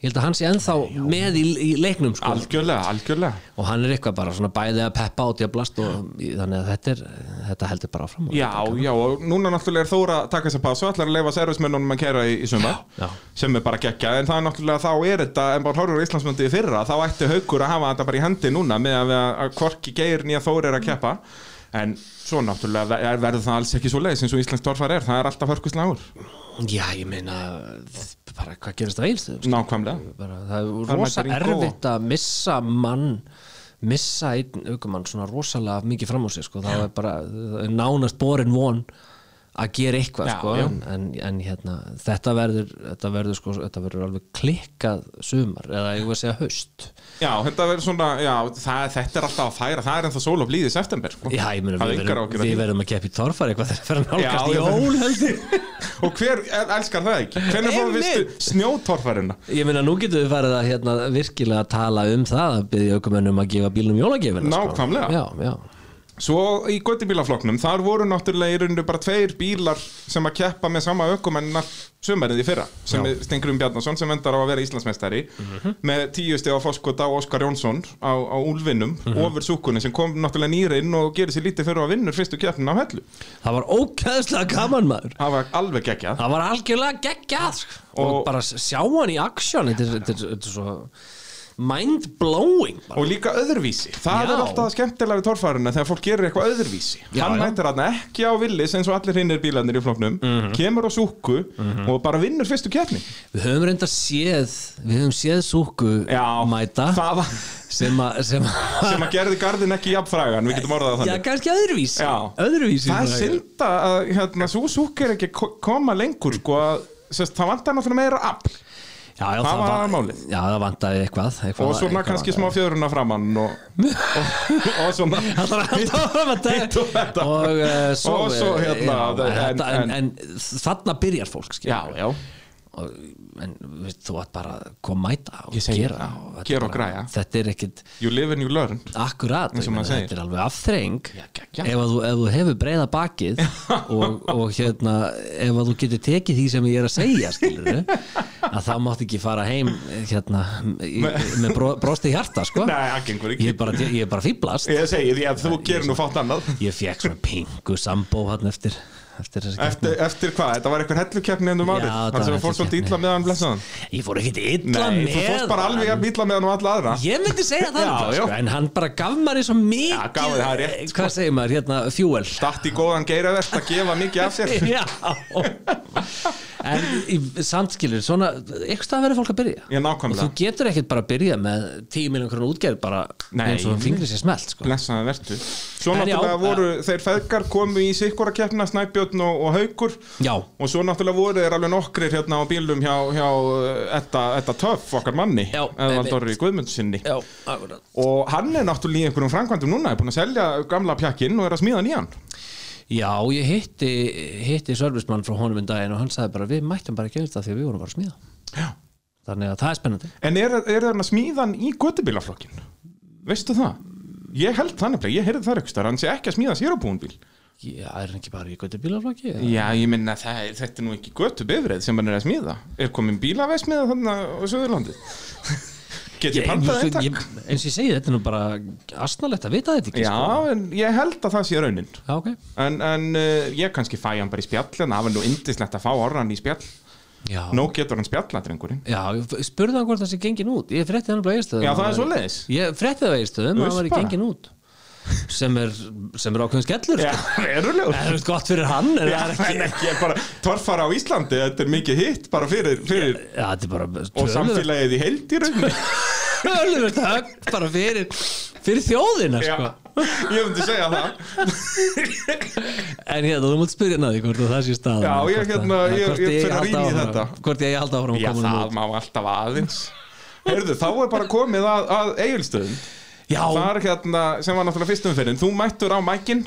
B: Ég held að hann sé ennþá með í, í leiknum, sko
A: Algjörlega, algjörlega
B: og hann er eitthvað bara svona bæði að peppa og djablast og þannig að þetta, er, þetta heldur bara áfram
A: Já, já, og núna náttúrulega er Þóra að taka sér pass og ætlar að leifa servismennunum að kæra í, í sumar
B: Já.
A: sem er bara gekkja, en það er náttúrulega þá er þetta, en bara horfur Íslandsmyndi í fyrra þá ætti haukur að hafa þetta bara í hendi núna með að, að hvorki geir nýja Þóra er að keppa en svo náttúrulega ver- er- verður það alls ekki svo leiðis eins og Íslands torfar er, það er alltaf hörkuslágur,
B: já ég meina þ- bara hvað gerist það eilstu
A: nákvæmlega
B: bara, það
A: Þar
B: er rosa
A: mætir Ingo.
B: erfitt að missa mann missa einn aukumann svona rosalega mikið fram úr sig sko. það er bara það er nánast borin von að gera eitthvað
A: Já,
B: sko.
A: já.
B: en, en hérna, þetta verður þetta verður, sko, þetta verður alveg klikkað sumar eða ég var að segja haust
A: Já, þetta verður svona, já, það, þetta er alltaf að færa það er ennþá sól og blíð í september sko.
B: Já, ég meina,
A: Það
B: við,
A: er engar
B: verum,
A: áhyggjur af
B: við
A: því.
B: verðum að keppa í torfar eitthvað þegar fyrir að
A: Já, ég
B: nálgast jól heldur
A: og hver el- elskar það ekki? Hvernig fóðum við
B: Einmitt.
A: snjótorfarina?
B: Ég meina, nú getum við farið að hérna, virkilega tala um það að byggja aukumennum að gefa bílnum jólagefina
A: Nákvæmlega.
B: sko. Já, já
A: Svo í göttibílaflokknum, þar voru náttúrulega í rauninu bara tveir bílar sem að keppa með sama ökumennina sömarið í fyrra sem
B: Já. Mhm.
A: er Stengrum Bjarnason sem endar á að vera Íslandsmeistari með tíu stið á Foskota og Óskar Jónsson á, á Úlfinum
B: Mhm.
A: ofur súkunni sem kom náttúrulega nýrinn og gerir sér lítið fyrir að vinnur fyrstu keppnin á hellu
B: Það var ókæðslega gaman maður
A: Það var alveg geggjað
B: Það var algjörlega geggjað sko. og,
A: Og-
B: bara sjá hann í aksjón Þetta er, þetta er, þetta er svo mind-blowing bara.
A: og líka öðruvísi, það
B: Já.
A: er alltaf það skemmtilega í torfæruna þegar fólk gerir eitthvað öðruvísi
B: Já,
A: hann
B: já.
A: mætir hann ekki á villis eins og allir hinnir bílarnir í flokknum
B: Mhm.
A: kemur á súku og bara vinnur fyrstu keppni
B: Við höfum reynda séð Við höfum séð súku
A: Já,
B: mæta
A: það var
B: sem að sem að-
A: sem að gerði gardin ekki jafnfrægan við getum orðað það
B: Já,
A: þannig
B: kannski öðruvísi
A: Já.
B: Öðruvísi
A: það er
B: fræga.
A: synda að hérna, Suzuki er ekki að ko- koma lengur sko að sest, það vantar náttúrulega meira afl
B: Já, já,
A: Það var
B: va-
A: málið.
B: Já, það vantaði eitthvað, eitthvað
A: og svona
B: eitthvað
A: kannski smá
B: vantaði.
A: fjöruna framann og, og, og svona
B: Það var alltaf að
A: hitt og þetta.
B: vantaði Og eh, svo
A: Og svo, hérna,
B: já,
A: en-
B: þetta,
A: en-
B: en, en, þarna byrjar fólk skilur
A: já, já,
B: við. og, En veist, þú átt bara að koma að mæta og
A: Ég segi
B: gera
A: það,
B: og þetta
A: gera og
B: bara-
A: græja.
B: Þetta er ekkit
A: you live and you learn
B: akkurat
A: Eins og
B: ég meina,
A: maður segir.
B: Þetta er alveg afþreng
A: geggjað.
B: ef, að þú, ef þú hefur breyða bakið og, og hérna ef að þú getur tekið því sem ég er að segja skilur að það mátt ekki fara heim hérna í, með bro, brosti hjarta sko
A: nei, það gengur
B: ég
A: ekki
B: er bara, ég er bara fýblast
A: ég segi því að þú gerir nú fátt annað
B: ég fekk svona pingu sambó hann eftir eftir þessi
A: eftir, eftir hvað, þetta var eitthvað hellukeppni ennum
B: Já,
A: árið
B: þetta
A: þannig sem að
B: var
A: fór svolítið
B: hellukeppni.
A: illa með hann blessaðan
B: keppni. ég fór ekkert illa
A: nei,
B: með
A: þú fórst bara alveg
B: hann.
A: jafn illa með hann og alla aðra
B: ég myndi segja það
A: Já,
B: nefnilega,
A: já.
B: sko, en hann bara gaf maður svo mikið Eh,
A: Já, gaf þér það rétt, sko.
B: hvað segir maður, hérna, fuel
A: dætt í góðan geiravert að gefa mikið af sér
B: já en í- samt skilur svona, eitthvað stað verður fólk að byrja
A: Já,
B: og þú
A: nákvæmlega,
B: getur ekkert bara að byrja með 10 miljón krónu útgerð bara
A: Nei.
B: eins og fingri sér smelt sko.
A: blessaða vertu Svo
B: En já,
A: náttúrulega
B: að-
A: voru þeir feðgar komu í sikkora keppna, Snæbjörn og, og Haukur
B: já,
A: Og svo náttúrulega voru þeir alveg nokkrir hérna á bílum hjá, hjá Etta, etta Töff, okkar manni
B: Já,
A: Eðvaldorri Guðmundsinni
B: já, akkurat
A: Og hann er náttúrulega í einhverjum framkvæmdum núna, er búin að selja gamla pjakkinn og er að smíða nýjan
B: já, ég hitti, hitti servismann frá honum en daginn og hann sagði bara við mættum bara að gera þetta því að við vorum bara að smíða
A: Já.
B: þannig að það er spennandi
A: En er, er þarna smíðan í göttubílaflokkin? Veistu það? Ég held það nefnilega, ég heyrði það eitthvað hann sé ekki að smíða sér á búinbíl
B: já, er hann ekki bara í gauti bílaflokki
A: Já, ég minna það, þetta er nú ekki göttubifrið sem hann er að smíða Er komin bílaveismiða þarna á Suðurlandi? Get ég pantað
B: ég,
A: þetta?
B: ég, eins og ég segi, þetta er nú bara asnalegt að vita þetta ekki
A: Já,
B: sko.
A: en ég held að það sé raunin
B: já, ok
A: En, en uh, ég kannski fæ hann bara í spjall En það var nú indislegt að fá orran í spjall
B: já,
A: Nó getur hann spjalla, drengurinn
B: já ég spurði hann hvort það sé gengin út ég frétti hann bara eiginstöðum
A: Já, það er svoleiðis
B: ég frétti það eiginstöðum,
A: Uss
B: það var í
A: bara.
B: gengin út sem er, sem er ákveðum skellur
A: Já,
B: sko.
A: erulegur
B: það er veist gott fyrir hann en það er ekki
A: En ekki, bara torfara á Íslandi Þetta er mikið hitt bara fyrir, fyrir
B: Já, þetta er bara
A: og
B: töluvert-
A: samfélagið í heild í rauninni
B: töluvert högg bara fyrir, fyrir þjóðina
A: Já,
B: sko.
A: ég myndi segja það
B: en hérna, þú mátt spyrja naði hvort að það sé staðan
A: Já, ég
B: Hvort að-
A: hérna, ég-
B: hvort
A: ég
B: eigi
A: fer að
B: halda
A: rýna í
B: áfram-
A: þetta.
B: hvort ég halda áfram að
A: Já,
B: koma honum
A: það má alltaf aðeins Heyrðu, þá er bara komið að, að Egilstöðum
B: út. já,
A: Þar hérna, sem var náttúrulega fyrst umferðin Þú mættur á mækin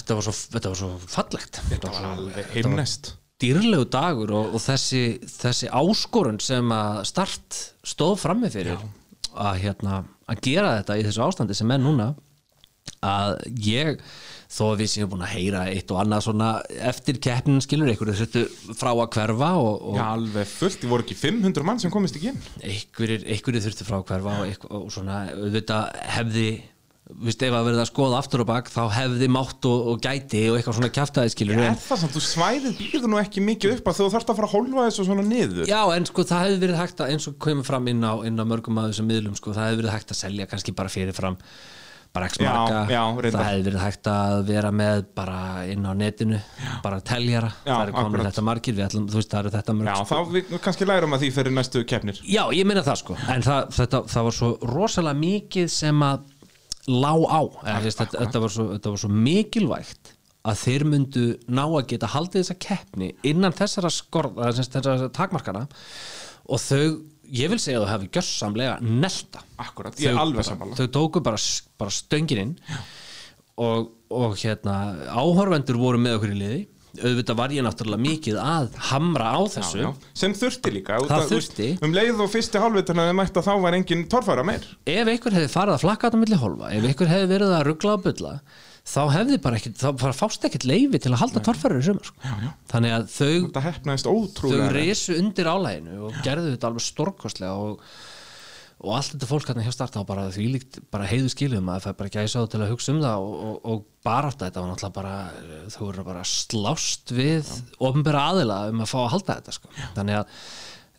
B: þetta var svo, þetta var svo fallegt þetta var svo
A: Himnest
B: dýrlegu dagur og, og þessi, þessi áskorun sem að start stóð frammi fyrir að, hérna, að gera þetta í þessu ástandi sem er núna að ég þó að við séum búin að heyra eitt og annað svona eftir keppnin skilur ykkur þetta frá að hverfa og, og
A: Já, alveg fullt, þið voru ekki 500 mann sem komist ekki inn
B: einhverjir, einhverjir þurfti frá að hverfa og, einhver, og svona auðvitað hefði viðst ef að verða að skoða aftur og bak þá hefði mátt og, og gæti og eitthvað svona kjaftaði skilur
A: Er það samt, þú svæðið býður nú ekki mikið upp að þú þarft að fara að hólfa þessu svona niður
B: Já, en sko það hefði verið hægt að eins og komið fram inn á, inn á mörgum að þessum miðlum sko, það hefði verið hægt að selja kannski bara fyrirfram bara x
A: Já,
B: marga
A: já, reyndar.
B: það hefði verið hægt að vera með bara inn á netinu, bara teljara
A: Já,
B: það eru komin
A: akkurat.
B: þetta margir, við ætlum, þú veist það eru þetta mörg
A: Já,
B: sko.
A: þá við, við kannski lærum að því fyrir næstu keppnir
B: Já, ég meina það sko en það, þetta, það var svo rosalega mikið sem að lá á Eða, veist, þetta, þetta, var svo, þetta var svo mikilvægt að þeir myndu ná að geta haldið þessa keppni innan þessara skorða, eða sem sagt þessara takmarkana og þau, ég vil segja að þau hafi gjörsamlega nelta
A: Akkurat, ég er
B: Þau
A: alveg
B: bara-
A: sammála.
B: Þau tóku bara, s- bara stöngin inn og, og hérna áhorfendur voru með okkur í liði auðvitað var ég náttúrulega mikið að hamra á þessu
A: Já, já. sem þurfti líka út
B: Það
A: að- þú veist,
B: þurfti.
A: um leið og fyrsti hálfvitin að þið mætt að þá var engin torfæra meir
B: ef einhver hefði farið að flakka þetta milli hólfa ef einhver hefði verið að ruggla og bulla þá hefði bara ekkit, þá bara fást ekkit leifi til að halda torfærir í sumar sko. já, já. þannig að þau,
A: þetta hefnaðist
B: þau
A: ótrúlega
B: resu undir álæginu og gerðu þetta alveg stórkostlega og, og allt þetta fólk hérna hjá starta og bara því líkt bara heiðu skiljum að það bara gæsa á til að hugsa um það og, og, og bara þetta, þetta var náttúrulega bara þau voru bara slást við ofnbæra aðila um að fá að halda þetta sko. þannig að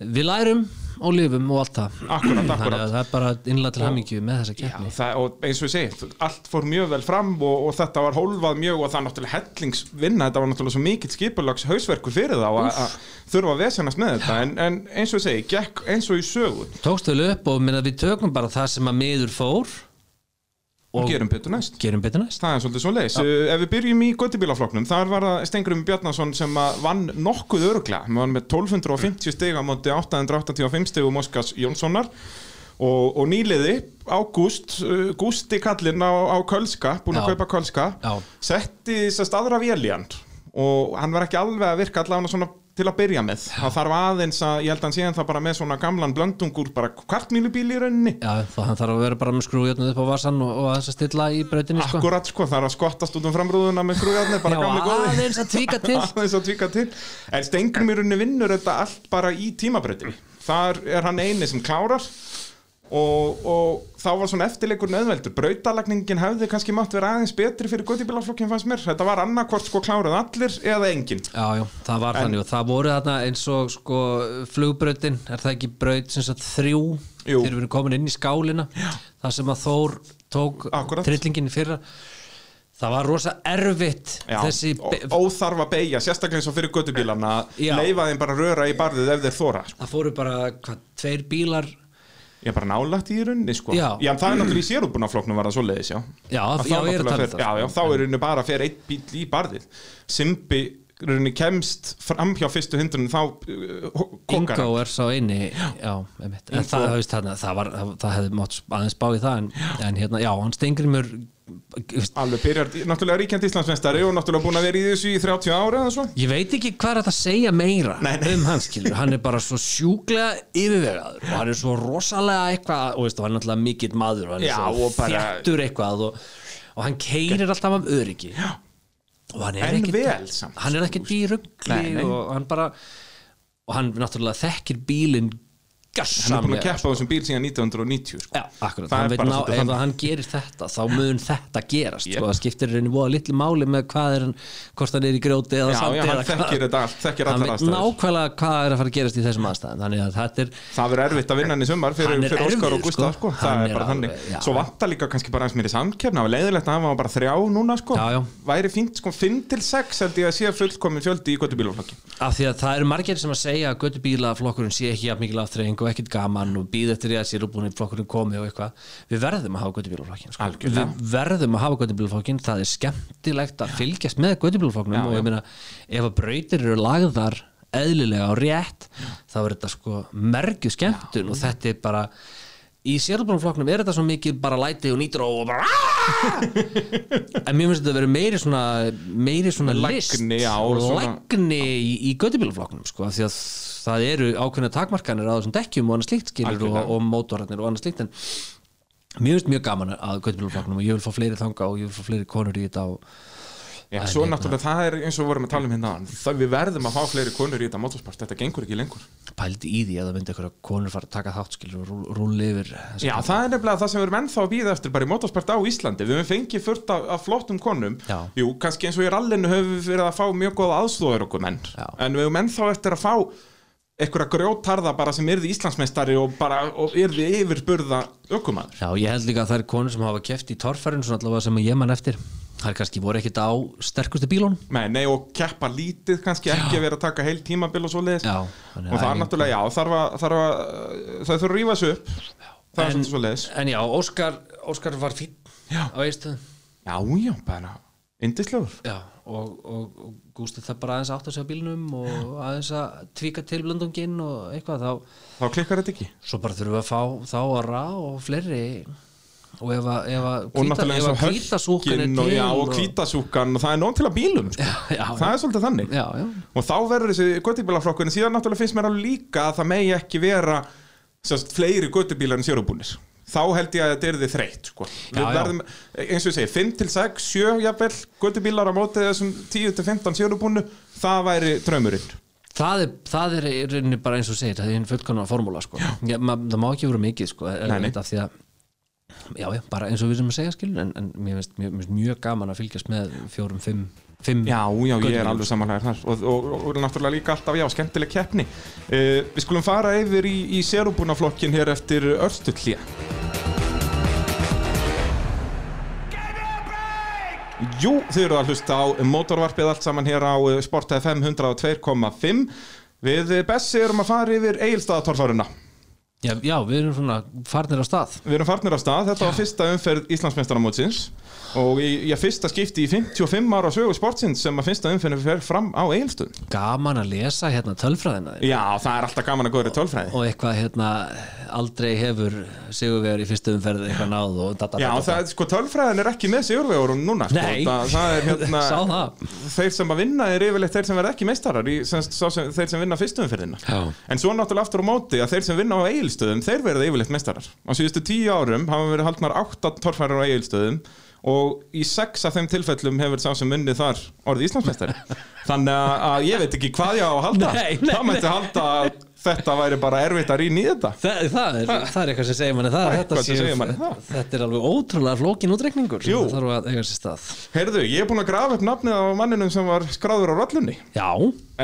B: við lærum og lifum og allt það
A: Akkúrat, akkúrat.
B: þannig að það er bara innlega til hamingju með þessa
A: Já,
B: keppni
A: það, og eins og ég segi, allt fór mjög vel fram og, og þetta var hólfað mjög og það er náttúrulega hellingsvinna, þetta var náttúrulega svo mikill skipulags hausverkur fyrir þá að- að þurfa að vesenast með þetta, en, en eins og ég segi gekk eins og í sögu,
B: tókst vel upp og minna við tökum bara það sem að miður fór
A: og gerum betur næst
B: gerum betur næst
A: Það er svolítið svo leiðis. Ef við byrjum í göttibílafloknum, þar var það Stengrum Bjarnason sem að vann nokkuð öruglega. Hann vann með 1250 stig á móti 885 stig um Óskars Jónssonar og, og nýliði Ágúst, uh, Gústi kallinn á, á Kölska, búin að
B: Já.
A: kaupa Kölska,
B: Já.
A: setti þessast aðra véljan og hann var ekki alveg að virka allavega svona til að byrja með. Það þarf aðeins að, ég held að hann séðan það bara með svona gamlan blöndungur, bara kvartmýlubíl í rauninni.
B: Já, þá hann þarf að vera bara með skrújötnuð upp á vasan og, og aðeins að stilla í brautinni sko.
A: Akkurat sko, það er að skottast út um framrúðuna með skrújarnir, bara
B: Já,
A: gamli góði
B: aðeins að tvíka til
A: aðeins að tvíka til en Stengrum í rauninni vinnur þetta allt bara í tímabreytinni þar er hann eini sem klárar og, og þá var svona eftirleikur nöðveldur brautalagningin hefði kannski mátt vera aðeins betri fyrir góðibílaflokkin fannst mér þetta var annarkvort sko kláruð allir eða engin
B: Já, já, það var þannig og það voru þarna eins og sko flugbrautin, er það ekki braut sem sagt þrjú,
A: Jú.
B: þeir eru verið komin inn í skálina, já. það sem að Þór tók
A: Akkúrat.
B: trillingin í fyrra það var rosa erfitt
A: Já,
B: þessi
A: ó-
B: be-
A: óþarf að beigja, sérstaklega eins og fyrir göttubílarna
B: Já.
A: leifa þeim bara að röra í barðið ef þeir þóra sko.
B: það fóru bara hvað, tveir bílar
A: ég er bara nálægt í rauninni sko.
B: Já.
A: en það er náttúrulega í sérúbunaflóknum var það svo leiðis já,
B: Já,
A: Að
B: já,
A: þá
B: ég er að
A: náttúrulega
B: tala um
A: fer-
B: það,
A: já,
B: sko.
A: já, þá er rauninni bara að fer einn bíl í barðið Simbi rauninni kemst fram hjá fyrstu hindrunum þá uh, kokkar hann.
B: Ingo er sá eini já, einmitt. en það, það, veist, hana, það, var, það, það hefði mátt aðeins bá í það en, en hérna, já, hann Steingrimur veist,
A: alveg byrjar, náttúrulega ríkjandi Íslandsmestari og náttúrulega búin að vera í þessu í 30 ára eða svo
B: ég veit ekki hvað er þetta að segja meira
A: Nei, nei.
B: um hans skilur, hann er bara svo sjúklega yfirvegaður og hann er svo rosalega eitthvað og veist, og hann er náttúrulega mikill maður og hann
A: Já,
B: er svo
A: og bara-
B: þjættur eitthvað og, og hann keirir alltaf af öryggi já. og hann er
A: En
B: ekkit
A: vel samt,
B: hann er ekkit í
A: Nei, nei.
B: rugli og hann bara og hann náttúrulega þekkir bílinn
A: hann er búin að
B: gassamlega
A: keppa á þessum bíl síðan 1990 sko.
B: sko. Já, akkurat,
A: Það
B: hann
A: er
B: veit
A: bara
B: ná,
A: svolítið
B: ef
A: þannig.
B: hann gerir þetta þá mun þetta gerast
A: Yep.
B: sko, það skiptir henni voða litlu máli með hvað er hann hvort hann er í grjóti eða
A: Já,
B: sandi
A: já, hann
B: eða hvað.
A: þekkir þetta allt, þekkir
B: hann
A: allar
B: veit
A: aðstæður.
B: nákvæmlega hvað er að fara að gerast í þessum aðstæðum þannig að þetta er
A: Það verður erfitt að vinna hann í sumar fyrir,
B: Hann er
A: fyrir Óskar og
B: erfiður,
A: Gustaf
B: sko.
A: sko. það er
B: Hann er
A: bara
B: alveg,
A: þannig
B: já.
A: Svo vantar líka kannski bara eins mér í samkefna og leiðilegt að hafa bara þrjá núna sko.
B: Já, já.
A: væri fínt sko, 5 til 6 held ég að sé fullkomin fjöldi í göttubílaflokki
B: af því að það eru margir sem að segja að göttubílaflokkurinn sé ekki að mikil aftreying og ekkit gaman og býð eftir því að sér útbúin flokkurinn komi og eitthvað við verðum að hafa göttubílaflokkin sko.
A: Algjörlega.
B: við verðum að hafa göttubílaflokkin það er skemmtilegt að fylgjast með
A: Já,
B: göttubílaflokknum og
A: já.
B: ég meina ef að brautir eru lagðar eðlilega og rétt þá er þetta sko mergju skemmtun og þetta er bara í sérlbúrnflokknum er þetta svo mikið bara læti og nýtró og bara "Ah!" en mér finnst þetta að vera meiri svona meiri svona list
A: Lagni, já, og svona-
B: lagni í, í göttubílflokknum sko, af því að það eru ákveðna takmarkanir á þessum dekkjum og annað slíkt skilur og,
A: Algjörlega.
B: og mótorarnir og annað slíkt en mér finnst mjög gaman að göttubílflokknum og ég vil fá fleiri þanga og ég vil fá fleiri konur í þetta og
A: Já, svo náttúrulega það er eins og við vorum að tala um hérna áðan. það, Við verðum að fá fleiri konur í þetta motorsport Þetta gengur ekki lengur
B: pældi í því að það myndi eitthvað konur fara að taka þátt skilur og rú- rúlla yfir þessu.
A: Já, það er nefnilega það sem við erum ennþá að býða eftir bara í motorsport á Íslandi Við höfum fengið fullt af, af flottum konum
B: Já.
A: Jú, kannski eins og í rallinu höfum við verið að fá mjög góða aðstóður okkur menn
B: Já.
A: En við höfum ennþá eftir að fá einhverja grjótarða bara sem yrði Íslandsmeistari og bara og yrði yfirburða ökumaður
B: Já, ég held líka að það er konur sem hafa keft í torfærin svona allavega sem ég man eftir það er kannski voru ekkit á sterkustu bílun
A: Nei, nei, og keppa lítið kannski ekki að vera að taka heil tímabil og svoleiðis
B: Já, þannig
A: og það er
B: æfing.
A: náttúrulega, já, þarf að, þarf að það þurfa að rífa sig upp það er
B: En-
A: svolítið svoleiðis
B: En já, Óskar, Óskar var fín já. á eistöðum
A: Já, já, bara, yndislegur
B: já, og, og, og Gústi það bara aðeins átt að segja bílnum og aðeins að tvíka til blöndunginn og eitthvað þá,
A: þá klikkar þetta ekki
B: svo bara þurfum við að fá þá að rá og fleiri og ef að, ef að,
A: og náttúrulega eins og
B: hvítasúkan er
A: hörkin
B: til
A: og, já, og kvítasúkan og það er nóg til að bílum sko.
B: já.
A: það er svolítið þannig
B: já, já,
A: og þá verður þessi göttubílaflokkurinn síðan náttúrulega finnst mér alveg líka að það megi ekki vera sérst, fleiri göttubílar en sérubúnir þá held ég að þetta er þið þreytt sko.
B: Já,
A: við
B: já.
A: verðum, eins og ég segi, 5 til 6 7 jafnvel, göttubílar á móti þessum 10 til 15 sérubúnu, það væri draumurinn
B: Það er, það er í rauninni bara eins og þú segir, það er hinn fullkona formúla sko. já, ma, það má ekki vera mikið sko, er-
A: Nei, nei.
B: af því að já, já, bara eins og við sem að segja skilur en, en mér finnst mjög, mjög, mjög gaman að fylgjast með fjórum, fimm, fimm
A: Já, já, ég er
B: göttubílum.
A: alveg samanlegar þar og, og, og, og náttúrulega líka alltaf, já, skemmtileg keppni uh, Við skulum fara yfir í, í sérubúnaflokkin hér eftir örstutlíja Jú, þið eru að hlusta á mótorvarpið allt saman hér á eh, Sport FM 102.5 Við eh, Bessi erum að fara yfir Egilstaðatorfaruna
B: já, já, við erum svona farnir á stað
A: Við erum farnir af stað, þetta var fyrsta umferð Íslandsmeistaramótsins og í, ég fyrsta skipti í 55 ára sögu sportsins sem að fyrsta umferðin fer fram á Egilstöðum
B: gaman að lesa hérna tölfræðina þín.
A: Já, það er alltaf gaman að góðra í tölfræði
B: og eitthvað hérna aldrei hefur Sigurvegar í fyrstu umferð eitthvað náð og data,
A: Já, það, er- sko, tölfræðin er ekki með sigurvegur núna sko,
B: Nei.
A: það, það er hérna
B: sá það
A: Þeir sem að vinna er yfirleitt þeir sem verða ekki meistarar í, sem, sá sem, þeir sem vinna fyrstu umferðina
B: Já.
A: En svo náttúrulega aftur á móti að þeir sem vinna á eigilstöðum þeir verða yfirleitt meistarar Á síðustu tíu árum hafa verið haldnar átta torfærar á eigilstöðum og í sex af þeim tilfellum hefur sá sem unnið þar orðið Íslandsmeistari Þannig að, að ég veit ekki hvað ég á að halda
B: Nei, nei,
A: Það mætti halda að þetta væri bara erfitt að rýna í þetta
B: Það, það, er, það er eitthvað sem segir manni það,
A: Það er
B: þetta,
A: eitthvað sem segir manni það.
B: þetta er alveg ótrúlega flókin útreikningur sem
A: Jú.
B: það þarf að eiga sér stað
A: Heyrðu, ég er búin að grafa upp nafnið á manninum sem var skráður á rollunni
B: Já,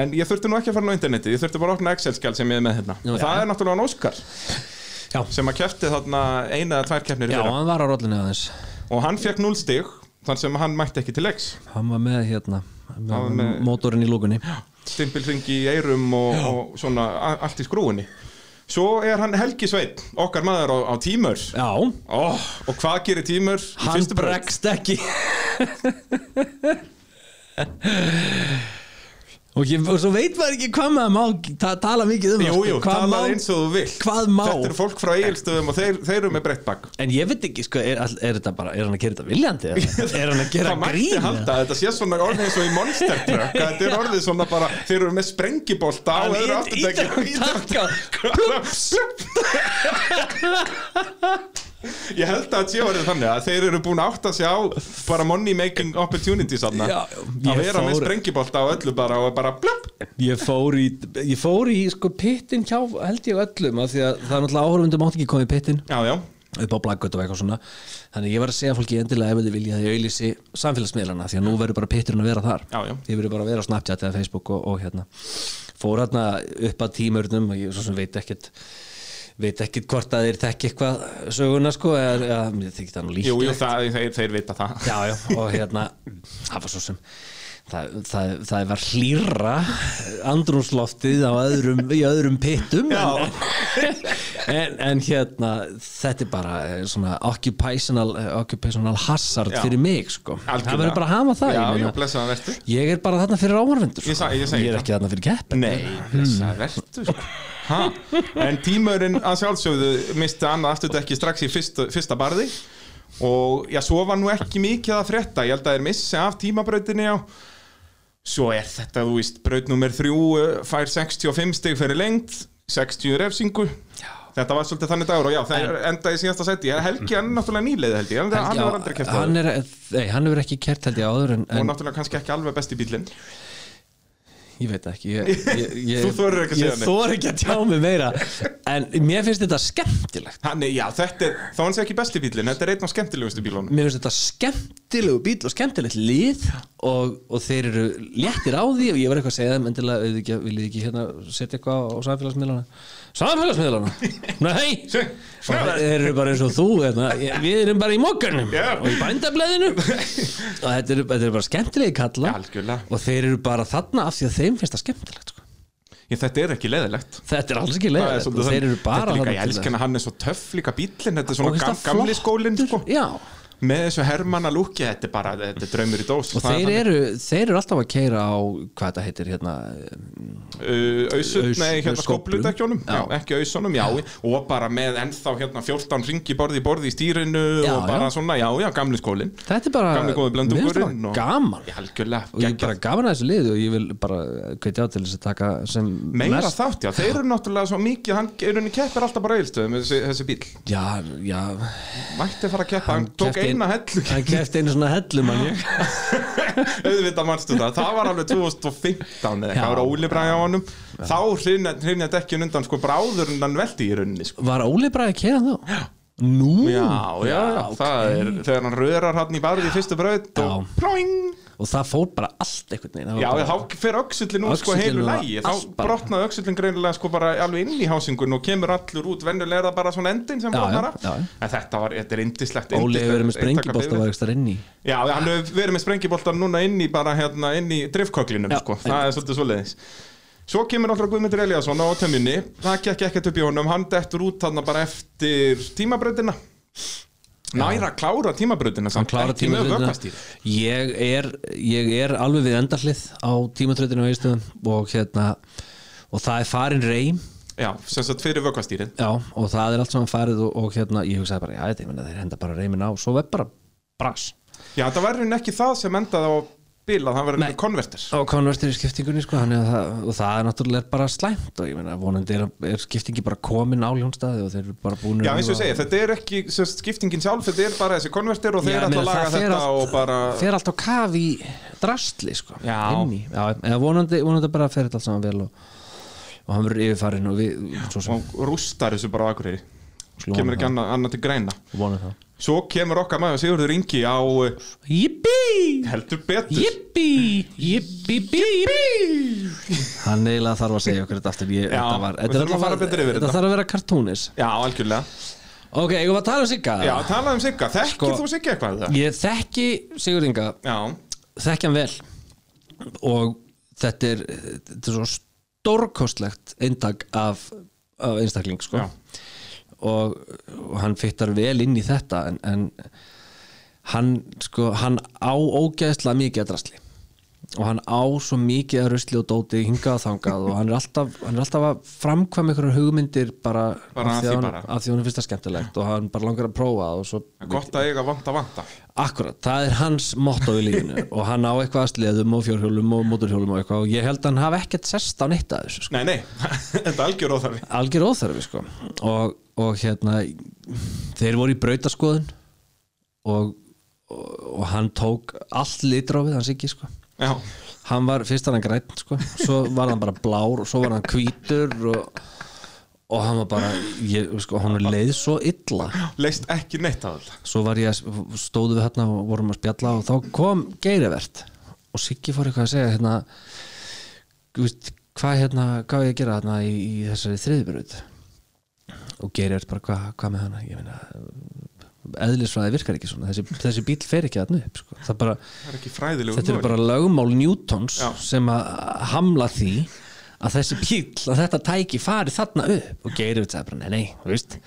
A: En ég þurfti nú ekki að fara inn á internetið, ég þurfti bara að opna Excel-skjál sem ég er með hérna
B: Nú,
A: Og Það
B: já.
A: er náttúrulega hann Óskar
B: já,
A: sem að kefti þarna eina eða tvær keppnir í
B: já
A: fyrra.
B: hann var á rollinu aðeins
A: Og hann fekk 0 stig þar sem hann mætti ekki til leiks
B: hann var með hérna hann
A: var
B: var
A: með-
B: með mótorinn í lúkunni
A: stimpilring í eirum og, og svona a- allt í skrúinni svo er hann Helgi Sveit, okkar maður á, á tímur
B: já,
A: oh, og hvað gerir tímur í
B: hann
A: fyrstu braut?
B: bregst ekki og, ég, og svo veit maður ekki hvað maður má ta tala mikið um það,
A: Jú, jú,
B: sko. hvað
A: talað
B: má-
A: eins og þú vilt
B: hvað má?
A: Þetta eru fólk frá eigilstöðum og þeir, þeir eru með breytt bakk
B: en ég veit ekki, sko, er, all- er þetta bara er hann að gera þetta viljandi? eða? er hann að gera
A: Það mætti
B: grín?
A: halda,
B: eða?
A: að þetta sé svona orðið eins og í Monster Truck að Þetta er orðið svona bara, þeir eru með sprengibólta á
B: Hann
A: öðru
B: ít-
A: afturdekki
B: ítir á takka.
A: Plups Ég held að þetta sé orðið þannig að þeir eru búin að átta sig á bara money making opportunities þarna
B: Já, ég
A: að vera með
B: fór-
A: sprengibólta á öllu bara og bara plup
B: ég fór í, ég fór í sko, pittin hjá held ég öllum af því að það er náttúrulega áhörfundu mátt ekki koma í pittin
A: Já, já,
B: upp á blaggöt og eitthvað svona þannig ég var að segja fólki endilega ef þið vilja að ég auðlýsi samfélagsmiðlana því að nú verður bara pitturinn að vera þar
A: Já, já.
B: ég verður bara að vera á Snapchat eða Facebook og, og hérna fór hérna upp að tímurnum og ég svo sem veit ekkert veit ekkert hvort að þeir þekki eitthvað söguna sko eða, eða mér þykir það nú líkt
A: jú, jú, það, þeir, þeir vita það
B: já, já, og hérna það var svo sem það, það, það var hlýra andrúnsloftið á öðrum, í öðrum pittum en, en, en hérna þetta er bara eh, svona occupational, eh, occupational hazard
A: Já.
B: fyrir mig sko það verður bara að hafa það
A: Já,
B: ég,
A: já,
B: meina.
A: blessaðan vertu
B: ég er bara þarna fyrir áhörfundur
A: Ég sa- ég segi
B: er
A: það.
B: ekki þarna fyrir kepp
A: Nei, blessa, vertu sko. Ha, En tímaurinn að sjálfsögðu misti annað afturdekki strax í fyrsta, fyrsta barði og já, svo var nú ekki mikið að frétta ég held að þeir missi af tímabrautinni á svo er þetta, þú veist, braut nummer þrjú eh, fær 65 stig fyrir lengt 60 refsingu Þetta var svolítið þannig dagur og já, það er enda í síðasta seti Helgi, hann er náttúrulega nýleið held ég, Helgi, hann var aldrei kæft
B: hann, er, nei, hann hefur ekki kert held ég áður en,
A: og
B: en
A: náttúrulega kannski ekki alveg besti bílinn
B: Ég veit það ekki ég, ég, ég,
A: Þú þorir ekki að segja
B: Ég
A: neitt.
B: þorir ekki að tjá mig meira En mér finnst þetta skemmtilegt
A: Hann er, já, þetta er, þá hann sé ekki besti bílinn, þetta er einn af skemmtilegustu bílunum
B: Mér finnst þetta skemmtilegu bíl og skemmtilegt lið og, og þeir eru léttir á því og ég var eitthvað að segja þeim endilega auðvitað ekki- viljið þið ekki hérna setja eitthvað á, á samfélagsmiðlana Samfélagsmiðlana? Nei! Og þeir eru bara eins og þú hérna. Ég- Við erum bara í mokkanum
A: Já.
B: og í bændablaðinu og þetta eru, þetta eru bara skemmtilegi kalla
A: Algjörlega.
B: og þeir eru bara þarna af því að þeim finnst það skemmtilegt sko.
A: Ég, þetta er ekki leðilegt
B: Þetta er alls ekki
A: Það er
B: leið
A: svolítið
B: Þeir eru
A: þannig. Þetta er
B: bara
A: líka,
B: þarna
A: ég
B: til
A: elska
B: þess.
A: hann, hann er svo töff líka bíllinn Þetta er
B: Og
A: svona
B: finnst
A: gam,
B: það
A: gamli
B: flottur.
A: skólinn sko.
B: Já,
A: Með þessu hermanna lúki, þetta er bara Þetta er draumur í dós
B: og þeir eru, þeir eru alltaf að keira á hvað þetta heitir hérna
A: uh, Ausut,
B: Aus-
A: nei, hérna
B: skóflum.
A: skópludekjónum já. Ekki ausunum, já Og bara með ennþá hérna 14 ringi borði í borði í stýrinu
B: Já,
A: Og bara
B: já.
A: svona, já, já, gamli skólinn
B: Þetta er bara,
A: Gamli góði
B: mér finnst
A: blöndungurinn
B: bara
A: og-
B: gaman
A: Ég algjörlega,
B: og ég er
A: geggjað
B: bara gaman að þessu liðu og ég vil bara kveitja á til þess að taka sem
A: Meira
B: mest
A: þátt, já, þeir eru náttúrulega svo mikið Hann er henni keppir alltaf bara eilstöðum þessi, þessi bíl,
B: Já, já
A: mætti fara að keppa Hann, tók
B: keppti-
A: eina hellu
B: Hann kefti einu svona hellu mann ég
A: auðvitað mannstu það, það var alveg 2015 eða
B: Já.
A: eitthvað, það var Óli bræði á honum þá hrifna- hrifnaði dekkin undan sko bráður en hann velti í rauninni sko.
B: Var Óli bara að keira þá? Nú?
A: já, já, já, það er þegar hann röðrar hann í barði í fyrstu braut og ploing,
B: Og það fór bara allt einhvern veginn Það var
A: já,
B: bara-
A: þá fer öxullin úr sko
B: Öxullinn
A: heilu
B: var
A: lægi, þá
B: allt bara.
A: brotnaði öxullin greinilega sko bara alveg inn í hásingun og kemur allur út, venjulega er það bara svona endin sem
B: Já,
A: brotnar
B: já,
A: af,
B: já.
A: en þetta var, þetta er indislegt
B: Óli hefur verið með sprengibótt og var
A: var
B: ekki starf inn í
A: Já, hann hefur verið með sprengiboltan núna inn í bara hérna inn í driftköklinum
B: Já,
A: sko, það er svolítið svoleiðis Svo kemur alltaf Guðmundur Eliasson á tömjunni það gekk ekkert upp í honum, hann dettur út þarna bara eftir tímabrautina Næra að klára tímabrautina
B: hann klára tímatröðina ég er, ég er alveg við endarlið á tímatröðinu á Ístöðum og hérna og það er farin reym
A: Já, sem sagt fyrir vökkvastýrið
B: já, og það er allt saman farið og, og hérna ég hugsaði bara, já, þetta ég meina, þeir henda bara reymin á svo er bara brass
A: Já, það verður ekki það sem endaði á bila, það verður einhver konverter
B: og konvertir í skiptingunni sko, þannig að það, og það er náttúrulega bara slæmt og ég meina, vonandi er, er skiptingi bara komin á ljónstaði og þeir eru bara búin
A: Já, eins og ég segi, þetta er ekki sem sagt, skiptingin sjálf, þetta er bara þessi konverter og þeir ætla að laga þetta og bara
B: fer allt á kaf í drastli sko,
A: Já.
B: inn í, já, eða vonandi, vonandi bara fer þetta allt saman vel og, og hann verður yfirfarinn og við, svo sem
A: og rústar þessu bara á akkurýri
B: Slóna
A: Kemur ekki
B: það.
A: annað, annað til greina
B: vonum það
A: Svo kemur okkar maður Sigurður Ingi á uh,
B: Jippi,
A: heldur betur
B: jippi, jippi, jippi Hann eiginlega þarf að segja okkur þetta aftur ég,
A: Já,
B: þetta var,
A: við þurfum að fara betur yfir
B: þetta
A: þetta.
B: þarf að vera kartúnis
A: Já, algjörlega
B: Ok, ég var að tala um Sigga
A: Já, talaðu um Sigga, þekkir
B: Sko-
A: þú Sigga eitthvað? eða?
B: Ég þekki Sigurð Inga
A: Já,
B: þekki hann vel og þetta er, þetta er svo stórkostlegt eindag af, af einstakling sko.
A: Já.
B: og, og hann fittar vel inn í þetta en, en hann, sko, hann á ógeðslega mikið að drasli og hann á svo mikið að rusli og dóti hingað og þangað og hann er alltaf, hann er alltaf að framkvæma einhverjar hugmyndir bara,
A: Bara að
B: af því
A: því
B: hann,
A: bara.
B: af því hann finnst það skemmtilegt og hann bara langar að prófa og svo
A: gott að eiga vanta vanta
B: Akkurat, það er hans motto í lífinu og hann á eitthvað að sleðum og fjórhjólum og móturhjólum og eitthvað og ég held að hann hafi ekkert sest á neitt að þessu sko.
A: Nei, nei, þetta er algjör óþarfi
B: algjör óþarfi sko og, og hérna þeir voru í brautaskoðun og, og, og hann tók allt litrófið hans ekki sko
A: Já,
B: hann var, fyrst var hann græn sko svo var hann bara blár og svo var hann hvítur og, og hann var bara ég, sko, hann leið svo illa
A: leist ekki neitt að þetta
B: svo var ég að stóðu við hérna og vorum að spjalla og þá kom geirivert og Siggi fór eitthvað að segja hérna þú veist, hvað hérna, hvað á ég að gera hérna í, í þessari þriðbröð og geirivert bara hvað hva með hana ég meina eðlisfræði virkar ekki svona, þessi, þessi bíl fer ekki hérna upp sko. það bara,
A: Það er ekki fræðilegu
B: þetta eru bara lögmál Newtons
A: Já.
B: sem að hamla því að þessi bíl, að þetta tæki fari þarna upp og geirivert sagði bara nei, nei, þú veist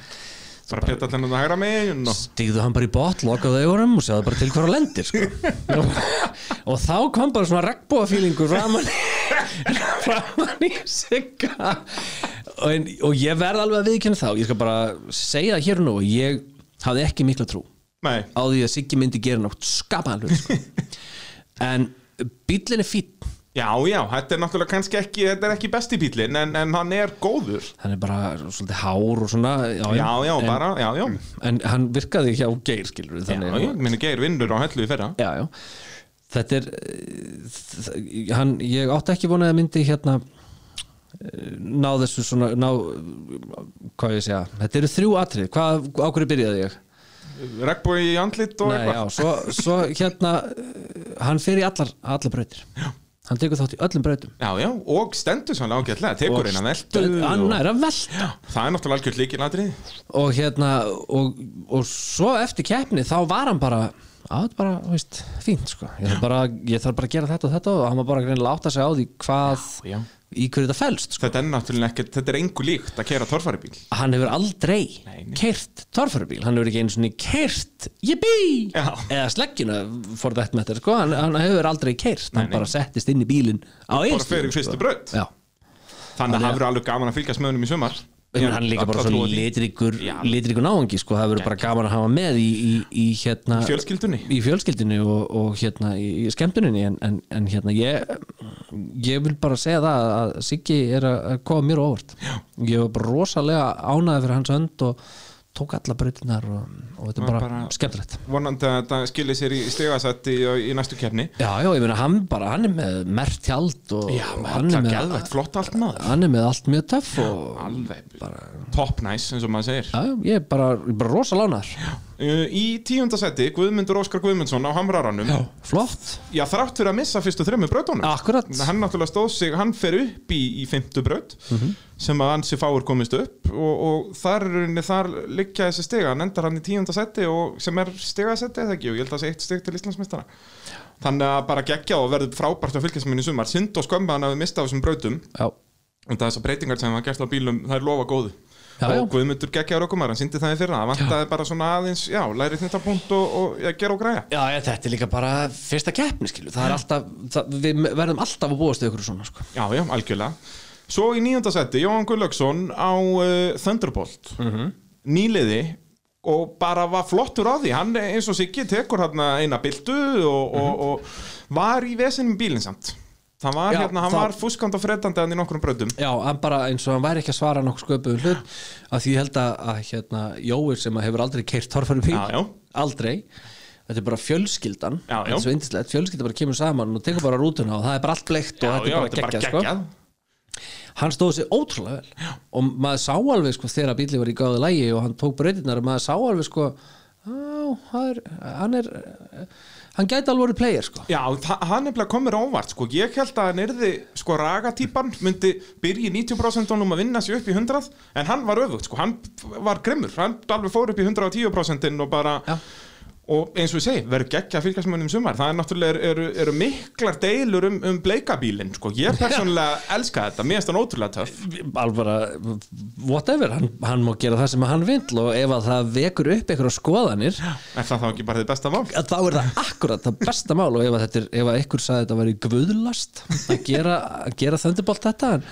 A: Bara pjata allan að hægra megin og
B: stígðu hann bara í bot, lokaðu augunum og sjáðu bara til hverja lendir sko. og þá kom bara svona regnbóafílingur framan í framan í sigga og, en, og ég verð alveg að viðkynna þá ég skal bara segja það hér og nú og ég hafði ekki mikla trú
A: Nei,
B: á því að Siggi myndi gera nátt skapaðan hlut sko. en bíllinn er fýtt
A: já, já, þetta er náttúrulega kannski ekki Þetta er ekki besti bílinn, en, en hann er góður
B: hann er bara svolítið hár og svona já,
A: Já, já,
B: en,
A: bara, já, já
B: en hann virkaði hjá geir skilur
A: Já, já, minni geir vinnur á hellu í fyrra
B: já, já. þetta er eh, þ- hann, ég átti ekki vonaði að myndi hérna eh, ná þessu svona ná, hvað ég segja, þetta eru þrjú atrið hvað, á hverju byrjaði ég?
A: Regbói í andlit og
B: Nei, já, svo, svo hérna eh, hann fer í allar, allar brautir já. hann tekur þátt í öllum brautum
A: Já, já, og stendur sannlega ágætlega, tekur eina veltu
B: hann
A: og...
B: er að velta
A: Það er náttúrulega algjört líkilatri
B: og hérna og, og svo eftir keppni þá var hann bara að þetta er bara, þú veist, fínt sko ég þarf, bara, ég þarf bara að gera þetta og þetta og hann var bara greinilega átt að segja á því hvað
A: Já, já.
B: í hverju þetta felst sko.
A: Þetta er náttúrulega ekki, þetta er engu líkt að kera torfaribíl
B: hann hefur aldrei
A: Nei, nei.
B: keirt torfærubíl, hann hefur ekki einu svona keirt jibbi,
A: Já.
B: eða sleggina for that matter, sko, hann, hann hefur aldrei keirt, hann
A: nei.
B: bara settist inn í bílinn á
A: Bara fyrir
B: einstíðum,
A: fyrstu braut
B: já
A: Þannig að það verður alveg gaman að fylgjast með honum í sumar
B: Ég meina, hann er líka bara svo litrikur
A: Já.
B: litrikur náungi sko, það verður bara gaman að hafa með í, í, í hérna
A: Í fjölskyldunni.
B: í fjölskyldunni og, og hérna í, í skemmtuninni en, en, en hérna ég ég vil bara segja það að Siggi er að að koma mér á óvart Já. ég var bara rosalega ánaði fyrir hans önd og tók alla brautinar og, og þetta er
A: Var
B: bara,
A: bara-
B: skemmtilegt
A: Vonandi að þetta skilir sér í stegasætti í, í næstu kefni
B: Já, já, ég meina hann bara, hann er með mert tjald og hann er,
A: Það er
B: með,
A: geðvægt flott allt maður
B: hann er með allt mjög töff og
A: Alveg top nice eins og maður segir
B: já, já, ég er bara, ég er bara rosalánar
A: uh, Í tíundasætti Guðmundur Óskar Guðmundsson á Hamraranum Já,
B: flott
A: þrátt fyrir að missa fyrstu þremmu brautunum
B: Akkurat
A: Hann náttúrulega stóð sig, hann fer upp í, í fymtu braut
B: Mhm.
A: sem að ansi fáur komist upp og, og þar, í rauninni- þar liggja þessi stiga, hann endar hann í tíundasætti og sem er stigasætti eða ekki og ég held að það sé eitt stig til Íslandsmeistara Þannig að bara gegja og verður frábært að fylgjast minni sumar, synd og skömmu að hann hafi mistað þessum brautum
B: Já,
A: og það þessar breytingar sem hann gert á bílum það er lofa góðu
B: Já, já.
A: og Guðmundur geggjaður okkur maður, hann syndi það í fyrra það vantaði bara svona aðeins, já, læri þetta punkt og, og ja, gera og græja
B: já ég, þetta er líka bara fyrsta keppni skilu Það er alltaf, það, við verðum alltaf að búast við ykkur svona sko.
A: já, já, algjörlega svo í nýjönda seti, Jóhann Guðlaugsson á uh, Thunderbolt
B: Mhm.
A: nýliði og bara var flottur á því hann eh, eins og Siggi tekur hann eina bildu og, og, og var í vesinum bílinn samt hann var,
B: Mhm. Já,
A: hérna, hann
B: það-
A: var fúskand og freddandi hann í nokkrum bröndum
B: Já, hann bara eins og hann væri ekki að svara nokkuð sköpuðum hlut að því ég held að, að hérna, Jóir sem að hefur aldrei keirt torfæri bíl
A: Já, já.
B: Aldrei Þetta er bara
A: Já,
B: fjölskyldan
A: já.
B: Þetta er svo yndislegt, fjölskyldan bara kemur saman og tekur bara rútuna og það er bara allt bleikt og þetta er bara geggjað sko. hann stóð sér ótrúlega vel og maður sá alveg sko þegar bíli var í gáðu lægi og hann tók breytinnar og maður sá alveg sko Já, það er, hann er hann gæti alveg verið player sko
A: Já, þa- hann nefnilega komur ávart sko. Ég held að hann yrði sko ragatýpan myndi byrja í 90% um að vinna sér upp í 100 en hann var öfugt sko, hann var grimmur hann alveg fór upp í 110% og bara
B: Já.
A: og eins og ég segi, verður geggja fylgjasmönnum sumar, það er náttúrulega eru, eru miklar deilur um, um bleikabílin sko. ég persónulega elska þetta, mér finnst hann ótrúlega töff
B: alvara, whatever hann, hann má gera það sem hann vill og ef að það vekur upp einhverja skoðanir
A: er það þá ekki bara þið besta mál?
B: að þá er það akkurat það besta mál og ef að, þetta er, ef að ykkur sagði að þetta væri guðlast að gera, að gera þöndubolt þetta en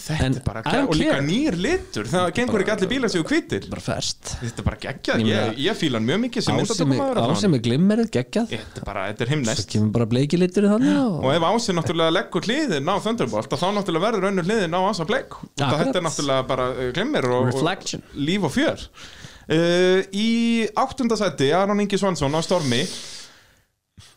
A: Þetta
B: En
A: er bara
B: I
A: gegg-
B: don't
A: og líka
B: care.
A: nýr litur, það gengur ekki allir bílar sem hvítir
B: bara fest
A: þetta er bara gegja,
B: Ég meina-
A: ég, ég fíla hann mjög mikið sem myndatökumaður allan.
B: ásemi glimmerið geggjað
A: Þetta er bara, þetta er
B: það
A: himnest
B: kemur bara bleikilitur í þannig og,
A: Og ef Ási náttúrulega leggur hliðin á Thunderbolt að þá náttúrulega verður önnur hliðin á Ása Bleik og
B: Akkurat.
A: þetta er náttúrulega bara uh, glimmir og, og
B: Reflection.
A: líf og fjör uh, Í áttundasæti Aron Ingi Svansson á Stormi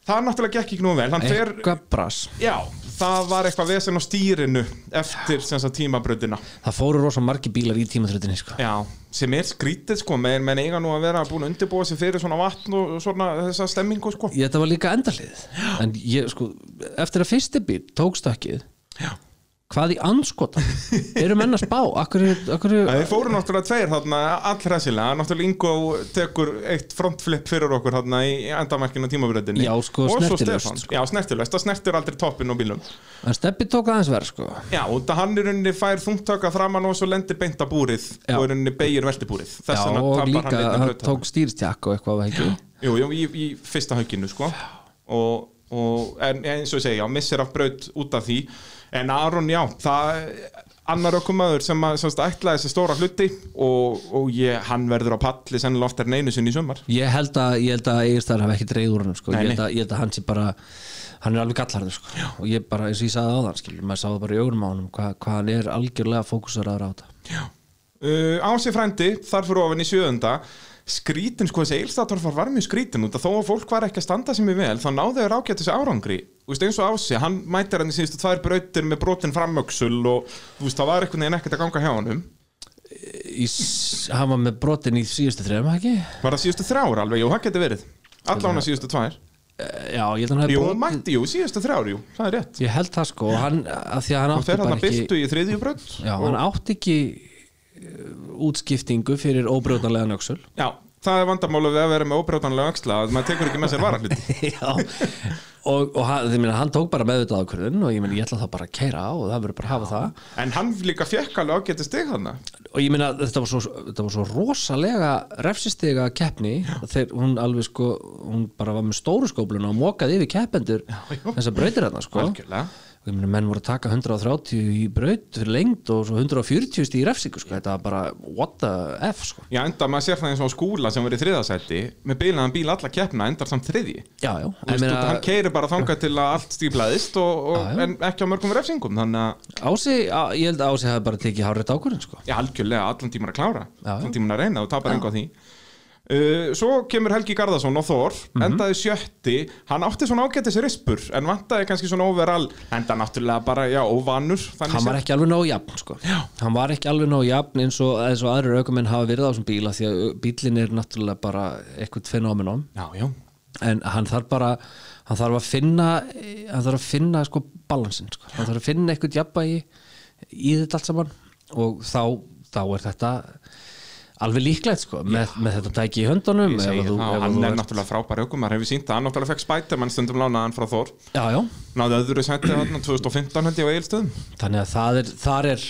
A: Það náttúrulega gekk ekki nú vel Hann fer,
B: eitthvað brass
A: já, það var eitthvað vesen á stýrinu eftir sem sagt tímabröðina
B: það fóru rosa margi bílar í tímaþröndinni sko.
A: Já, sem er skrítið sko menn, menn eiga nú að vera búin að undirbúa sig fyrir svona vatn og svona þessa stemmingu sko
B: ég, þetta var líka endalið en ég sko, eftir að fyrsti bíl tók stökkið
A: Já
B: hvað í anskotan eru menn að spá akkur, akkur,
A: Það þeir fóru náttúrulega tveir þarna allræsilega, náttúrulega Ingo tekur eitt frontflip fyrir okkur þarna í í endamarkinu á tímabröðinni
B: Já, sko,
A: og svo
B: snertilaust,
A: Stefán,
B: sko.
A: já snertilegst, það snertir aldrei toppin á bílum
B: en steppi tók aðeins verð sko.
A: Já, og það hann í rauninni fær þungtöka framann og svo lendir beint á búrið
B: Já.
A: og í rauninni beigir veltibúrið
B: já,
A: Þess vegna
B: og
A: tapar
B: líka
A: hann einnig
B: hann
A: hluta
B: tók stýrstjakk og eitthvað var það ekki?
A: Jú, jú, í, í fyrsta hauginu sko og, og en, eins og ég segja, missir af braut út af því en Aron, já, það annar okkumaður sem að semst, ætlaði þessi stóra hluti og, og ég, hann verður á palli sennilega oftar en einu sinni í sumar
B: ég held að, ég held að Egilstaðar hafi ekki dreigð úr hann sko.
A: Nei,
B: ég, held að, ég held að hann sé bara hann er alveg gallarður sko. og ég bara, eins og ég sagði á þann skilur, maður sáði bara í augunum á hann hvað, hvað hann er algjörlega fókusaraður á þetta
A: uh, Ási frændi, þar fyrir ofan í sjöðunda skrítin, sko, þessi eilstatorfar var mjög skrítin út að þó að fólk var ekki að standa sem ég vel þá náðu þeir ágætt þessi árangri Þú veist, eins og Ási, hann mætir hann í síðustu tvær brautir með brotin framöksul og þú veist, það var einhvern veginn ekkert að ganga hjá honum
B: Í s- hann var með brotin í síðustu þrejum ekki?
A: Var það síðustu þrjár alveg, jú, það getur verið Allána síðustu tvær
B: Eh, já, ég held að hann hafi
A: Jú,
B: brotið-
A: mætti, jú, síðustu þrjár, jú, það er rétt
B: Ég held það sko, og hann, að því að hann
A: Og
B: átti
A: þeir hann
B: bara
A: að
B: ekki
A: byltu í þriðju brönd
B: Já, hann átti ekki eh, útskiptingu fyrir óbrjóðanlega nöksul
A: Já, það er vandamálið við að vera með óbrjótanlega öxla að maður tekur ekki með sér varahluti
B: Já og, og hann, minna, hann tók bara meðvitað ákvörðun og ég meina ég ætla þá bara að keira á og það verður bara að hafa það
A: En hann líka fekk alveg ágæti stig þarna
B: og ég meina þetta var svo, þetta var svo rosalega refsistiga keppni þegar hún alveg sko hún bara var með stóru skópluna og mokaði yfir keppendur
A: já.
B: þess að brautir hérna sko
A: Algjörlega
B: og ég meina menn voru að taka 130 í braut fyrir lengd og svo 140 stig í refsingu sko þetta var bara what the f sko
A: Já, enda maður sér það eins og á skúla sem verið þriðasætti með bílaðan bíl alla keppna endar samt þriðji
B: Já, já,
A: Þú
B: ég
A: veist,
B: meina-
A: Hann keiri bara þangað til að allt stíplaðist og, og,
B: Já, já.
A: en ekki á mörgum refsingum þannig að
B: Ási, á, ég held að Ási hafi bara tekið hárið ákvörðin sko.
A: Já, algjörlega, allan tíman að klára
B: Já,
A: allan
B: já.
A: tíman að reyna og tapar engu á því uh, Svo kemur Helgi Garðarsson og Þór
B: Mhm.
A: endaði sjötti, hann átti svona ágætis rispur en vantaði kannski svona overall enda náttúrulega bara, já, óvanur
B: Hann var ekki alveg nógu jafn sko. Hann var ekki alveg nógu jafn eins og, eins og aðrir aukumenn hafa verið á þessum bíla því að bílinn er náttúrulega bara eitthvað fenómenon
A: Já, já
B: en hann þarf bara hann þarf að finna hann þarf að finna sko balansin sko. hann þarf að finna eitthvað jafnvægi í þetta allt saman og þá, þá er þetta alveg líklegt sko með, með þetta tæki í höndunum ef
A: Segir,
B: að þú-
A: á,
B: ef að
A: hann
B: þú
A: er
B: ert-
A: náttúrulega frábæri okkur, maður hefur sínt að hann náttúrulega fekk Spiderman stundum lánaðan frá Þór
B: Já, já,
A: náði öðru sætti hann 2015 hendi á Egilstöðum
B: þannig að það er þar er,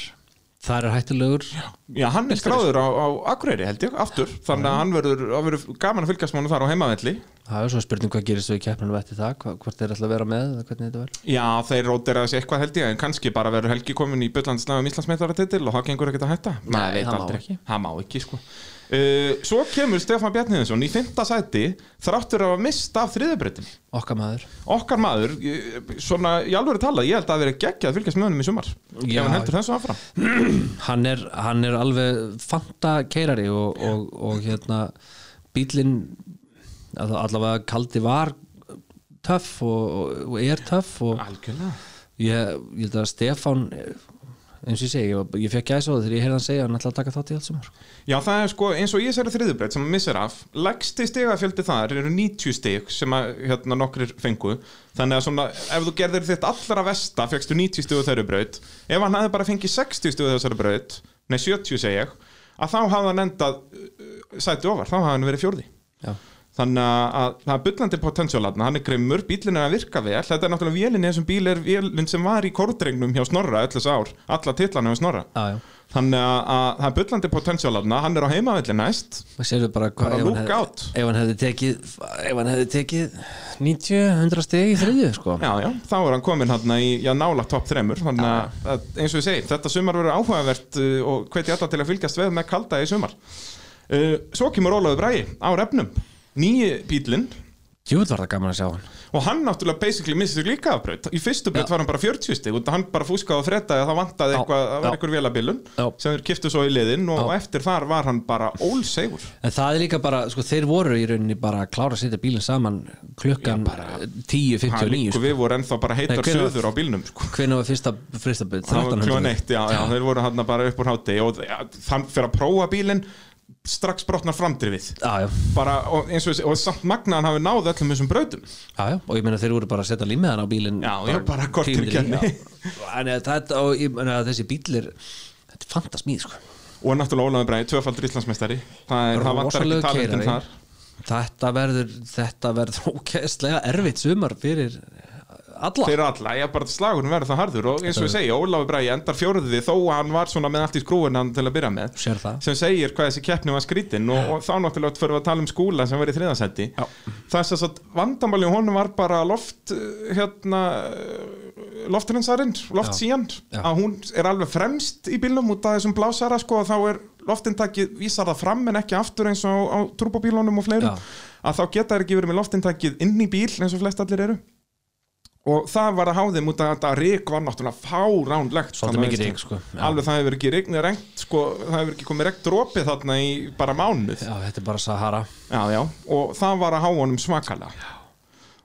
B: þar er hættulegur
A: Já, hann er skráður á, á Akureyri held ég, aftur þannig að hann verður, hann verður gaman að fylgjast mánu þar á heimavelli
B: Það er svo spurning hvað gerist þú í keppninu eftir það, hva- hvort þeir ætla að vera með eða hvernig þetta verður.
A: Já, þeir rótera þessi eitthvað held ég en kannski bara verður Helgi komin í Böllandsnæðum Íslandsmeistaratitil og það gengur ekkert að hætta Maður
B: Nei,
A: veit
B: það má
A: aldrei.
B: ekki.
A: Það má ekki sko. uh, Svo kemur Stefán Bjarniðinsson í fymta sæti þráttur að hafa mist af þriðabreytin
B: Okka maður.
A: Okkar maður, eh, svona í alvöru talað ég held að það hafi verið geggjað að fylgjast með honum í sumar
B: Já.
A: ef hann heldur þessu áfram
B: Hann er, hann er alveg fanta keirari og, og, og hérna bílinn all- allavega kaldi var töff og, og er töff og
A: Ah. Algjörlega
B: ég, ég held að Stefán eh, eins og ég segi, ég, ég fekk gæsa á það þegar ég heyrði hann segja að hann ætla að taka þátt í allt sumar
A: Já, það er sko eins og ég sér að þriðubreyt sem að missir af, leggsti stegafjöldi þar eru 90 steg sem að hérna nokkrir fengu, þannig að svona ef þú gerðir þitt allra vesta fegstu 90 stegu þeirri braut, ef hann hefði bara fengið 60 stegu þessari braut, nei 70 segi ég, að þá hafði hann endað uh, sæti ofar, þá hafði hann verið fjórði
B: Já.
A: þannig að, að það er bullandi potentiálatna, hann er grimmur, bílinn er að virka vel þetta er náttúrulega vélinn í þessum bíl er vélinn sem var í kordrengnum hjá Snorra öll þessi ár, alla titlana hjá Snorra
B: Já, já.
A: Þannig að, að það er bullandi potentiálarna, hann er á heimavelli næst
B: Og sérðu bara hvað
A: Bara
B: ef hann,
A: look out.
B: hefði, ef hann hefði tekið ef hann hefði tekið 90-100 stegi í þriðju sko.
A: Já, já, þá er hann komin hann í já, nála topp þremur Þannig að, að eins og ég segi, þetta sumar verður áhugavert uh, og hveti alla til að fylgjast veð með kalda í sumar uh, Svo kemur Ólaður Bræi á refnum Nýji bílinn
B: Djúvill var það gaman að sjá hann
A: og hann náttúrulega basically missið líka af braut Í fyrstu braut
B: Já.
A: var hann bara 40 stig og hann bara fúskaði að fretta að það vantaði
B: Já,
A: eitthvað, það
B: já.
A: var eitthvað vélabilun
B: Já.
A: sem þeir kiftu svo í liðin og,
B: Já.
A: og eftir þar var hann bara ólsegur
B: En það er líka bara, sko, þeir voru í rauninni bara að klára að setja bílinn saman klukkan
A: Hann
B: 10.59
A: líka
B: sko.
A: við voru ennþá bara heitar
B: Nei, hvenær-
A: söður á bílnum sko.
B: Hvernig var fyrsta fristaböð?
A: Það var klón eitt, já, já, þeir voru hann bara upp úr háti og ja, þann fyrir að prófa bílinn strax brotnar framdrifið
B: Já, já,
A: bara, og, eins og, og samt magnaðan hafi náð öllum þessum brautum
B: já, já, og ég meina þeir voru bara að setja límiðan á bílinn
A: Já, já, bara korter
B: tíu mínútur
A: í keppni.
B: í, já. En þetta, og ég meina að þessi bílir Þetta er fantasmíð, sko
A: og náttúrulega Ólafur Bræði, tvöfaldur Íslandsmeistari það, er, það vantar ekki
B: Rosalegur
A: talentin
B: keyrari.
A: þar
B: Þetta verður, þetta verður ókæðslega erfitt sumar fyrir alla
A: fyrir alla, ég bara slagurinn verður það harður og eins og ég segi, Ólafur Bræði endar fjóruði þó að hann var svona með allt í skrúinan til að byrja með
B: Sér það
A: sem segir hvað þessi keppni var skrítin og, og þá náttúrulega fyrir við að tala um skúla sem var í þriðasendi
B: Já.
A: þess að vandamáli honum var bara loft uh, hérna loftrinsarinn, loft síjan
B: Já.
A: að hún er alveg fremst í bílnum út af þessum blásara sko og þá er loftintakið vísar það fram en ekki aftur eins og á turbobílunum og fleirum
B: Já.
A: að þá geta þær ekki verið með loftintakið inn í bíl eins og flest allir eru og það var að háðum út af að þetta rík var náttúrulega fáránlegt
B: Svolítið
A: þarna
B: mikið
A: vinstri.
B: ryk, sko. Já.
A: alveg það hefur ekki regn, rengt sko, það hefur ekki komið regn dropið þarna í bara mánuð já.
B: Já, þetta er bara Sahara
A: Já, og það var að há honum svakala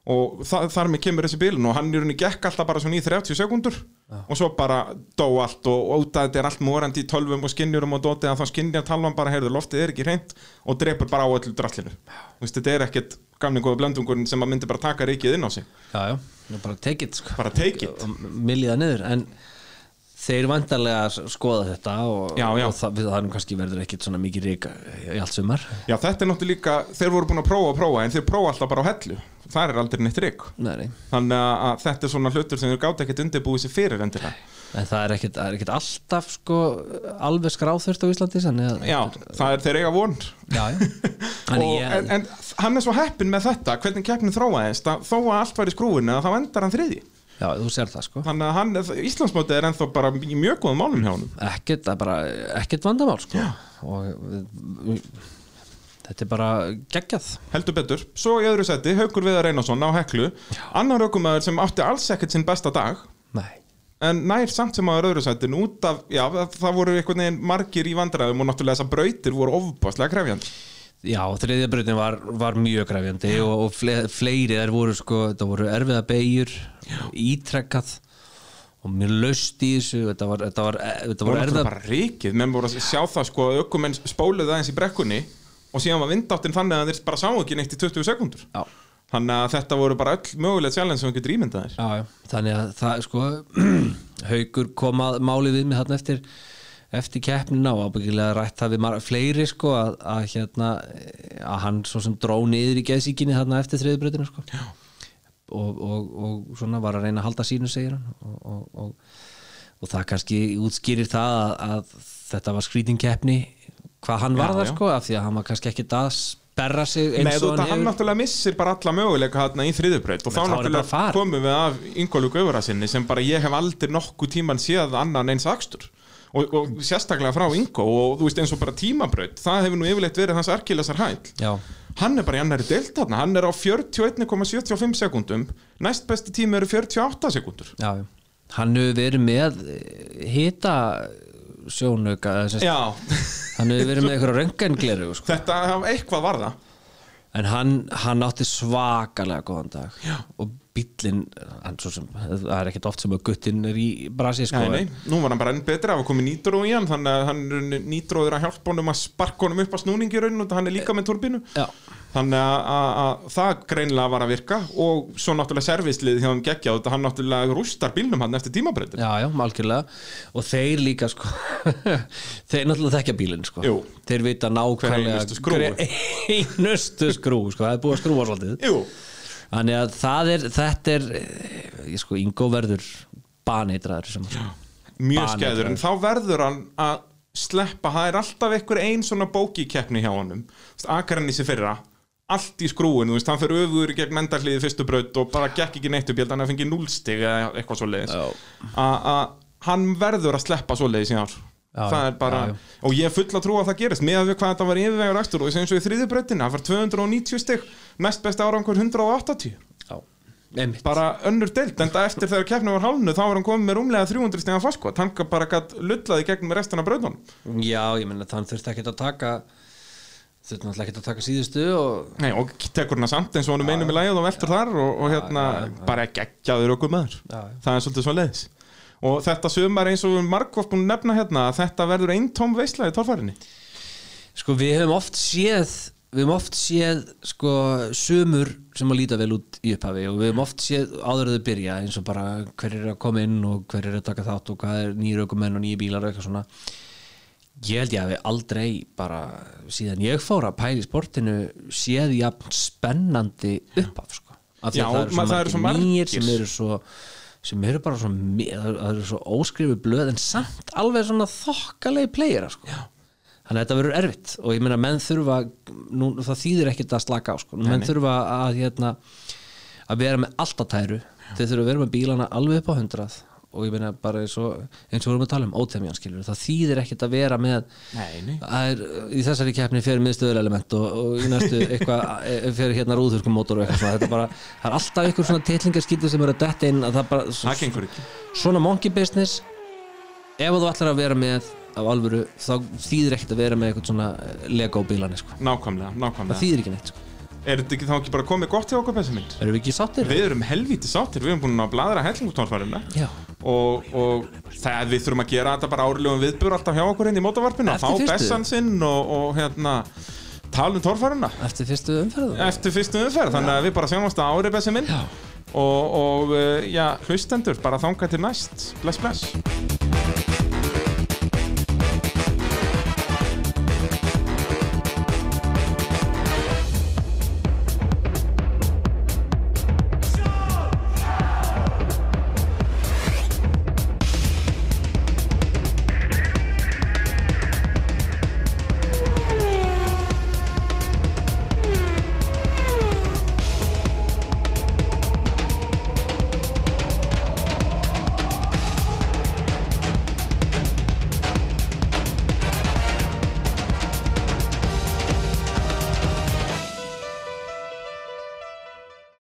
A: og það, þar með kemur þessi bílun og hann í rauninni gekk alltaf bara svona í 30 sekundur og svo bara dó allt og, og út að þetta er allt morandi í tölvum og skinnjurum og dótið að þá skinnja talvan bara heyrðu loftið er ekki reynd og drepur bara á öllu drallinu Þú veist, þetta er ekkert gamli góða blöndungurinn sem að myndi bara taka reikið inn á sig
B: Já, já, nú bara take it sko.
A: bara take it
B: Og Milliða niður, en þeir vandarlega skoða þetta og,
A: Já, já.
B: og það, við- það er nú kannski verður ekkit svona mikið rík í allt sumar
A: Já, þetta er náttúrulega líka, þeir voru búin að prófa og prófa en þeir prófa alltaf bara á hellu, það er aldrei neitt reik
B: Nei, nei.
A: þannig að að þetta er svona hlutur sem þeir gátt ekkert undirbúið sér fyrir endilega
B: En það er ekkit, það er ekkit alltaf sko, alveg skráþurft á Íslandi þannig að-
A: já, það er þeir eiga von
B: já, já. En
A: og,
B: ég,
A: en, en hann er svo heppin með þetta hvernig keppnin þróaðist að þó að allt var í skrúinu þá endar hann þriði
B: já, þú sér það sko
A: þannig að hann, Íslandsmótið er ennþá bara í mjög góðum málum hjá honum
B: ekkert, það er bara ekkert vandamál sko og við- þetta er bara geggjað
A: heldur betur, svo í öðru seti Haukur Viðar Einarsson á Heklu annar aukumæður sem átti alls ekkert sinn besta dag
B: Nei,
A: en nær samt sem aður öðru sætin út af, já, það voru einhvern veginn margir í vandræðum og náttúrulega þessar brautir voru ofbáslega krefjandi.
B: já, þriðja breytin var, var mjög græfjandi og, og fle, fleiri þær voru sko, þetta voru erfiða beigjur ítrekkað og mjög laust í þessu þetta var, þetta var, e, þetta
A: Það
B: var
A: voru
B: erfiða
A: náttúrulega bara ríkið, menn voru að sjá það sko að ökumenn spóluðu aðeins í brekkunni og síðan var vindáttin þannig að þeir bara sá ekki neitt í 20 sekundur.
B: já,
A: Þannig að þetta voru bara öll mögulega challenge sem þú getur ímyndað þér.
B: já, já, þannig að það sko haukur kom að málið við mig þarna eftir eftir keppnina og ábyggilega rætt það við mar- fleiri sko að, að hérna að hann svo sem dró niður í geðsíkinni þarna eftir þriðbröðinu sko og, og, og svona var að reyna að halda sínu segir hann og, og, og, og það kannski útskýrir það að, að þetta var skrýting keppni hvað hann var það
A: já.
B: sko af því að hann var kannski ekki að sperra sig
A: Nei,
B: eins
A: þú þetta
B: og
A: hann
B: hann hefur
A: náttúrulega missir bara alla möguleika hérna í þriðubraut og þá
B: þá er hann bara
A: náttúrulega
B: farin.
A: komum við af yngolug öfurasinni sem bara ég hef aldrei nokkuð tíman séð annan eins akstur og, og sérstaklega frá yngo og þú veist eins og bara tímabraut það hefur nú yfirleitt verið hans erkilasar hæll
B: Já.
A: hann er bara í annari deilt þarna hann er á 41,75 sekundum næst besti tími eru 48 sekundur
B: Já, já. hann hefur verið með hita sjónauka eða sem sagt,
A: Já,
B: hann hefur verið með eitthvað röngengleru sko.
A: þetta eitthvað var það
B: en hann, hann átti svakalega góðan dag Já. og bíllinn hann, svo sem, það er ekkert oft sem að guttinn er í brasi sko,
A: Nei, nei, nú var hann bara enn betra, það var komið nýtró í hann þannig að hann nýtróður að hjálpa honum að sparka honum upp á snúningi í raun og hann er líka með turbinu
B: Já.
A: þannig að, að, að það greinlega var að virka og svo náttúrulega servislið hjá hann geggja þetta hann náttúrulega rústar bílnum hann eftir tímabreytin
B: Já, já, algjörlega og þeir líka sko þeir náttúrulega þekkja bílinn sko
A: Jú.
B: þeir vita nákvæmlega
A: einustu skrúfu.
B: hver einustu skrú sko, það er búið að skrúfa svolítið
A: Jú,
B: þannig að það er, þetta er ég sko, Ingo verður baneitraður sem já.
A: mjög
B: Baneitraður.
A: skæður en þá verður hann að sleppa, það er alltaf einhver ein svona bókikeppni hjá honum Akarnis í fyrra, allt í skrúin þú veist, hann fyrir öfugur gegn mendarhliði fyrstu braut og bara gekk ekki neitt upp, ég held að hann að fengi núlstig eða eitthvað svo leiðis
B: Já.
A: að hann verður að sleppa svo leiðis í ár
B: Já,
A: það er bara,
B: já, já.
A: og ég er full að trúa að það gerist með að við hvað þetta var yfirvegar ekstur og eins og í þriðju brautinni, hann var 290 stig næst besta árangur 180
B: einmitt
A: bara önnur deilt, en það eftir þegar keppni var hálnu þá var hann komið með rúmlega 300 stegan faskot hann gat- bara gætt lullaði gegn með restina brautunum
B: Já, ég meina þann þurfti ekkert að taka þurfti náttúrulega ekkert að taka síðustu og
A: Nei, og tekur hana samt eins og hann um einum í lagið og veltur þar og, og hérna bara geggjaður okkur maður
B: Já, já.
A: það er svolítið svo leiðis og þetta sumar eins og Markov búin að nefna hérna að þetta verður eintóm veisla í torfærinni
B: sko við höfum oft séð við höfum oft séð sko sumur sem að líta vel út í upphafi og við höfum oft séð áður að þau byrja eins og bara hver er að koma inn og hver er að taka þátt og hvað er nýjur aukumenn og nýjir bílar og eitthvað svona ég held ég að við aldrei bara síðan ég fór að pæla í sportinu séð jafn spennandi upphaf sko af því
A: Já,
B: að það eru svo,
A: ma- það eru svo
B: margir nýjir
A: margir.
B: sem eru svo sem eru bara svo, mi- það það eru svo óskrifu blöð en samt alveg svona þokkalegi playera sko. þannig að þetta verður erfitt og ég meina menn þurfa nú, það þýðir ekkert að slaka á sko. menn þurfa að, hérna, að vera með allt á tæru þeir þurfa að vera með bílana alveg upp á hundrað og ég meina bara eins og eins og við erum að tala um ótemjan skilur það þýðir ekkert að vera með
A: Nei, nei.
B: Það er, í þessari keppni fyrir miðstöðurelement og, og í næstu eitthvað e, fyrir hérna rúðurkumótor og eitthvað svona. þetta er bara, það er alltaf einhver svona titlingarskýtur sem eru að detta inn að það bara,
A: það gengur ekki
B: svona monkey business ef þú ætlar að vera með af alvöru, þá þýðir ekkert að vera með eitthvað svona lego bílani sko.
A: nákvæmlega,
B: það
A: nákvæmlega
B: þýðir ekki neitt sko.
A: er þetta ekki þá ekki bara komið gott hjá okkur þessi mynd?
B: erum við ekki sáttir?
A: Við erum helvítið sáttir, við erum búin að bladra hellingutorfærina
B: Já.
A: og, og það við þurfum að gera þetta bara árilegum viðbjör alltaf hjá okkur inn í mótavarpinu
B: Eftir
A: fá
B: fyrstu.
A: bessan sinn og, og hérna tala um torfærina
B: eftir fyrstu umferðu?
A: eftir fyrstu umferð, þannig að við bara sjáumast að ári bessi minn
B: Já.
A: og, og eh, já, hlustendur, bara þangað til næst bless, bless